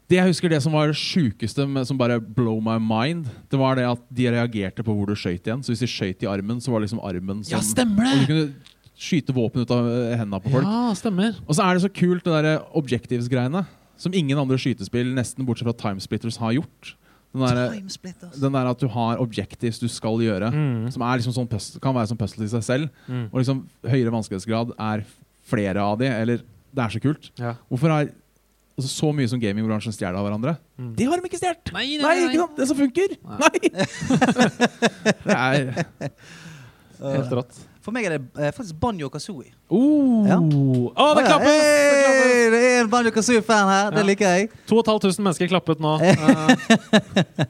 C: Det jeg husker det som var det sjukeste, men som bare blow my mind, det var det at de reagerte på hvor du skøyt igjen. Så hvis de skøyt i armen, så var det liksom armen som
A: stemmer
C: Og du kunne skyte våpen ut av eh, hendene på folk.
A: Ja, stemmer.
C: Og så er det så kult, det derre objectives-greiene. som ingen andre skytespill, nesten bortsett fra Timesplitters, har gjort. Den der,
B: Timesplitters.
C: den der at du har objectives du skal gjøre,
A: Mm.
C: som er liksom sånn puzzle, kan være som puzzle i seg selv.
A: Mm.
C: Og liksom høyere vanskelighetsgrad er flere av de, eller det er så kult.
A: Ja.
C: Hvorfor har altså, så mye som gamingbransjen stjeler av hverandre?
A: Mm.
C: Det har de ikke stjålet!
A: Nei,
C: Nei, ikke sant? Det som funker! Nei! det er
A: Helt rått.
B: For meg er det eh, faktisk Banjo Kazooie.
C: Uh!
A: Oh.
B: Ja.
A: Å, det klappes! Det klappes!
B: Hey, det er en Banjo Kazooie-fan her.
A: Ja.
B: Det liker jeg.
A: 2500 mennesker klappet nå. Eh,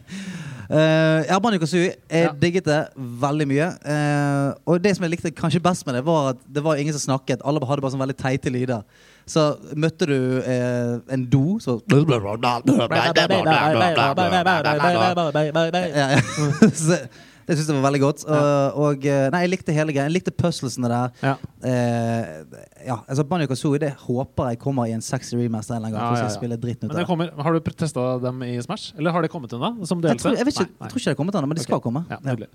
B: Eh, ja, Banjo Kazooie. Jeg
A: Ja.
B: digget det veldig mye. Eh, og det som jeg likte kanskje best med det, var at det var ingen som snakket. Alle hadde bare sånn veldig teite lyder. Så møtte du eh, en do, så ja, ja. så jeg syns det var veldig godt. Og, og eh, Nei, jeg likte hele greia. Jeg likte puzzlesene der.
A: ja.
B: Eh, ja, altså Banjo Kazooie det håper jeg kommer i en sexy remaster en eller annen gang.
A: Ja,
B: for så
A: ja,
B: jeg
A: ja.
B: spiller dritten ut
A: Men
B: av
A: det
B: det.
A: kommer, har du testa dem i Smash? Eller har det kommet ennå? Som
B: Jeg
A: delelse?
B: tror, jeg, vet ikke,
A: Nei, nei.
B: jeg tror ikke det har kommet ennå, men det skal
A: Ok.
B: komme.
A: Ja, nydelig.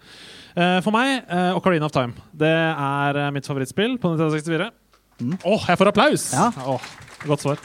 A: Eh, for meg, eh, Ocarina of Time. Det er eh, mitt favorittspill på Nintendo 64. Åh,
B: Mm.
A: jeg får applaus!
B: Ja.
A: Åh, godt svar.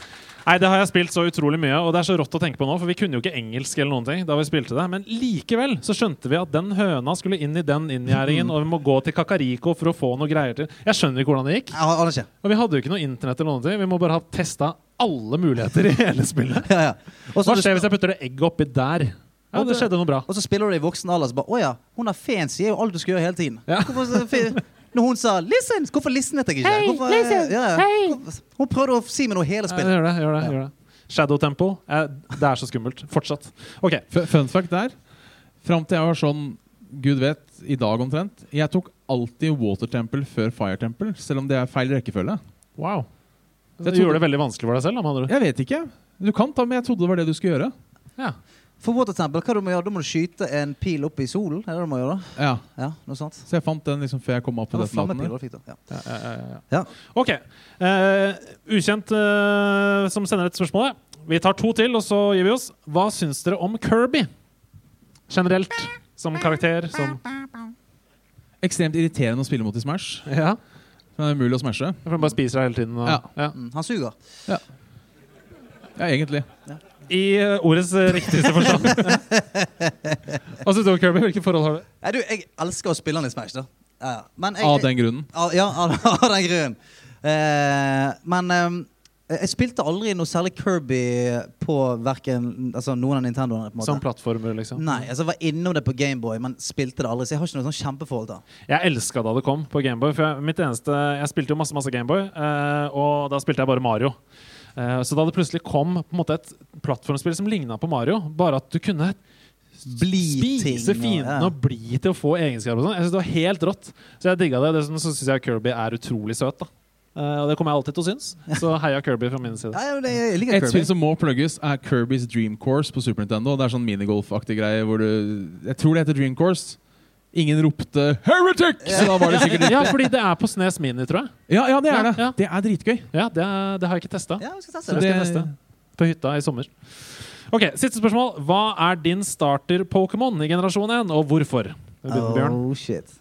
A: Nei, Det har jeg spilt så utrolig mye, og det er så rått å tenke på nå, for vi kunne jo ikke engelsk eller noen ting da vi spilte det, men likevel så skjønte vi at den høna skulle inn i den
B: Mm.
A: inngjerdingen, og vi må gå til Kakariko for å få noe greier til. Jeg skjønner ikke hvordan det gikk,
B: Jeg har- aner ikke.
A: og vi hadde jo ikke noe internett eller noen ting. Vi må bare ha testa alle muligheter i hele spillet.
B: Ja, ja. Og så
A: Hva
B: du
A: skjer
B: sp-
A: hvis jeg putter det egget oppi der? Ja, det skjedde noe bra.
B: og så spiller du i voksen alder, så bare Å ja, hun er fancy, er jo alt du skal gjøre hele tiden.
A: Ja.
B: Hvorfor så fe- Når hun sa 'listen', hvorfor listenet jeg ikke?
G: Hei,
B: hvorfor,
G: listen,
B: ja, ja.
G: hei.
B: Hvorfor- Hun prøvde å si meg noe hele
A: Ja,
B: spillet.
A: gjør det, gjør det, gjør det. Shadow Temple. eh, Det er så skummelt. Fortsatt. OK.
C: F- Fun fact der. Fram til jeg var sånn Gud vet, i dag omtrent. Jeg tok alltid Water Temple før Fire Temple, selv om det er feil rekkefølge.
A: Wow.
C: Jeg
A: Det
C: trodde-
A: gjorde det veldig vanskelig for deg selv. da, med andre ord.
C: Jeg vet ikke. Du kan ta, men jeg trodde det var det du skulle gjøre.
A: Ja.
B: For Water Temple, hva du må gjøre? Da må du skyte en pil opp i solen? Er det det du må gjøre?
C: Ja,
B: Ja, noe sånt.
C: Så jeg fant den liksom før jeg kom opp
B: Det
C: på
B: var
C: Death Mountain.
B: flammepiler du fikk da. Ja.
A: Ja, ja, ja, ja.
B: Ja.
A: OK. Eh, ukjent eh, som sender et spørsmål. ja. Vi tar to til, og så gir vi oss. Hva syns dere om Kirby generelt? Som karakter, som
C: Ekstremt irriterende å spille mot i Smash.
A: Ja.
C: Det er umulig å smashe.
A: For den bare spiser deg hele tiden. Og,
C: Ja.
A: Ja.
B: Mm, han suger.
C: Ja, egentlig.
A: I eh, ordets eh, riktigste forstand. Ja. Hva syns du om Kirby? Hvilke forhold har du?
B: Nei, du, jeg elsker å spille han i Smash, da. Ja, ja. Men jeg,
A: Ah,
C: Av den grunnen.
B: Av- Ja, av av den grunnen. Eh, men eh, jeg spilte aldri noe særlig Kirby på hverken, altså, noen av Nintendoene. på en måte.
A: Som plattformer, liksom.
B: Nei, altså jeg var innom det på Gameboy, men spilte det aldri. Så jeg har ikke noe sånn kjempeforhold til det.
A: Jeg elska da det kom på Gameboy. For jeg, mitt eneste, jeg spilte jo masse masse Gameboy, eh, og da spilte jeg bare Mario. Eh, så da det plutselig kom på en måte et plattformspill som ligna på Mario, bare at du kunne
B: Bli
A: spise fiendene og bli til å få egenskaper og sånn, jeg synes det var helt rått. Så jeg digga det. Dessuten så syns jeg Kirby er utrolig søt, da. Eh, og det kommer jeg alltid til å synes. Så heia Kirby fra min side.
B: Ja, ja, men jeg, jeg liker
C: Et
B: Kirby.
C: spill som må plugges, er Kirbys Dream Course på Super Nintendo. Det er sånn minigolf-aktig greie hvor du Jeg tror det heter Dream Course. Ingen ropte 'Heretic!', så da var det sikkert
A: Ja, fordi det er på Snes Mini, tror jeg.
C: Ja, ja det er det.
A: Ja, ja.
C: Det er dritgøy.
A: Ja, Det, er, det har jeg ikke testa.
B: Ja, vi
A: Så
B: skal teste det.
A: det
C: det-
A: skal neste. På hytta i sommer. Ok, Siste spørsmål. Hva er din starter-Pokémon i generasjon 1, og hvorfor? Vi begynner med Bjørn.
B: Oh, shit.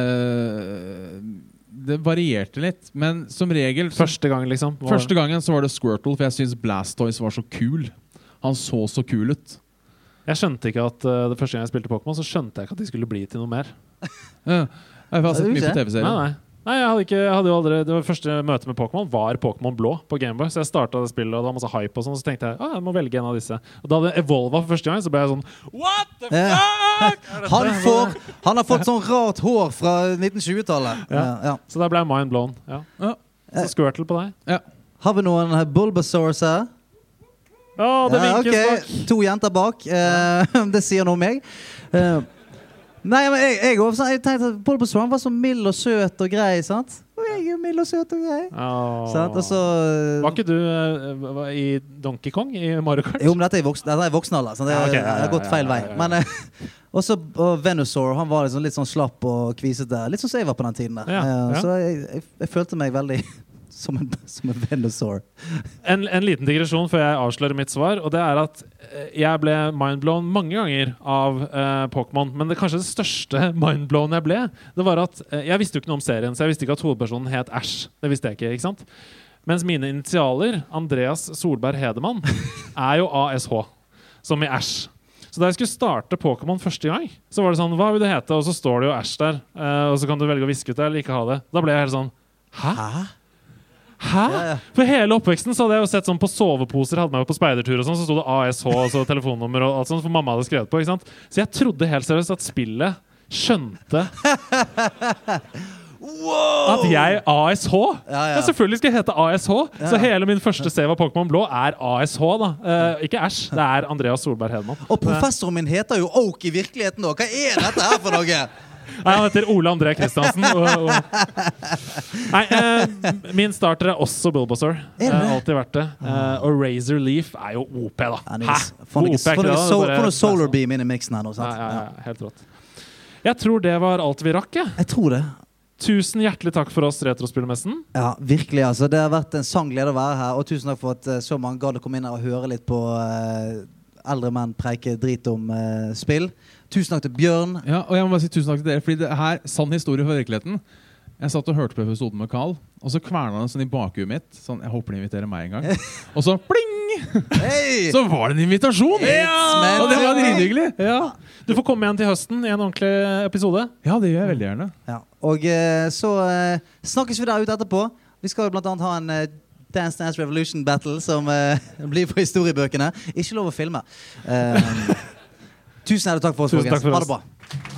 C: Eh, det varierte litt, men som regel så,
A: Første gang, liksom. Hva-
C: Første gangen så var det Squirtle, for jeg syns Blastoise var så kul. Han så så kul ut.
A: Jeg skjønte ikke at eh, det første gang jeg spilte Pokémon, så skjønte jeg ikke at de skulle bli til noe mer.
C: Eh, jeg har sett
B: Ja, du
C: mye på
B: ser.
A: Nei,
C: TV-serier.
A: nei. Nei, jeg hadde ikke, jeg hadde jo aldri, Det var første møte med Pokémon var Pokémon blå på Gameboy. Så jeg starta det spillet, og det var masse hype, og sånn, så tenkte jeg ah, jeg må velge en av disse. Og da det Evolva for første gang, så ble jeg sånn What the
B: Ja.
A: fuck?! Er dette-
B: Eh, Han, får, han har fått sånn rart hår fra 1920-tallet. Ja. Ja.
A: Så da ble jeg mind blown. Ja.
C: Ja.
A: Så Squirtle på deg.
B: Har vi noen eh, Bulbasaurs her?
A: Å, det
B: Ja,
A: vinkes
B: ok.
A: bak!
B: To jenter bak. eh, det sier noe om meg. Eh, nei, men jeg, jeg, også, jeg tenkte at Bulbasaur han var så mild og søt og grei, sant? Og jeg er jo mild og søt og grei.
A: Åh.
B: Sant? Og så
A: Var ikke du eh, var i Donkey Kong i Mario Kart?
B: eh, Jo, men dette er i voksen, dette er i voksen alder, så det
A: Ja, ok, ja, ja,
B: det har gått
A: ja,
B: feil
A: ja,
B: vei.
A: ja, ja.
B: Men eh, også og Venusaur, han var liksom litt sånn slapp og kvisete. Litt sånn som jeg var på den tiden. der.
A: Ja,
B: Eh,
A: ja.
B: Så jeg, jeg, jeg følte meg veldig som en, som en Venusaur.
A: En, en liten digresjon før jeg avslører mitt svar. Og det er at eh, jeg ble mindblown mange ganger av eh, Pokémon. Men det kanskje det største mindblown jeg ble, det var at eh, jeg visste jo ikke noe om serien. Så jeg visste ikke at hovedpersonen het Ash. Det visste jeg ikke, ikke sant? Mens mine initialer, Andreas Solberg Hedemann, er jo ASH, som i Æsj. Så da jeg skulle starte Pokémon første gang, så var det sånn Hva vil det hete? Og så står det jo Æsj der. eh, og så kan du velge å viske ut det eller ikke ha det. Da ble jeg helt sånn Hæ?
B: Hæ?
A: Hæ?
B: Ja, ja.
A: For hele oppveksten så hadde jeg jo sett sånn på soveposer, hadde meg jo på speidertur og sånn, så sto det ASH og så telefonnummer og alt sånt, for mamma hadde skrevet på, ikke sant? Så jeg trodde helt seriøst at spillet skjønte at jeg ASH
B: Ja, ja.
A: ja, selvfølgelig skal jeg hete ASH. Så hele min første save av Pokémon Blå er ASH, da. Eh, ikke Æsj. Det er Andreas Solberg Hedman.
B: Og professoren min heter jo Oak i virkeligheten òg. Hva er dette her for noe?
A: Nei, han heter Ole André Kristiansen. Og, og... Nei, eh, min starter er også Bulbasaur.
B: Er det?
A: Eh, alltid vært det. Eh, og Razor Leaf er jo OP, da. Hæ?
B: Ja, Nils, Få
A: Hvor OP
B: noe
A: er ikke det, da? Det er bare-
B: solar beam inn i miksen her nå.
A: Ja, ja,
B: sant?
A: ja, helt rått. Jeg tror det var alt vi rakk. jeg.
B: Jeg tror det.
A: Tusen hjertelig takk for oss, Retrospillmessen.
B: Ja, virkelig. altså. Det har vært en sann glede å være her. Og tusen takk for at eh, så mange gadd å komme inn her og høre litt på eh, eldre menn preike drit om eh, spill. Tusen takk til Bjørn.
C: Ja, og jeg må bare si tusen takk til dere, fordi det her, sann historie fra virkeligheten. Jeg satt og hørte på episoden med Carl, og så kverna han sånn i bakhuet mitt. Sånn, jeg håper de inviterer meg en gang. Og så pling!
B: Hei!
C: Så var det en invitasjon!
B: meant
C: Og det var
B: to be.
C: drithyggelig.
A: Ja. Du får komme igjen til høsten i en ordentlig episode.
C: Ja, det gjør jeg veldig gjerne.
B: Ja. Og eh, så eh, snakkes vi der ute etterpå. Vi skal jo blant annet ha en eh, Dance Dance Revolution Battle som eh, blir på historiebøkene. Ikke lov å filme. Eh, tusen hjertelig takk for oss,
A: Tusen takk
B: folkens.
A: for
B: Ha
A: oss.
B: det bra.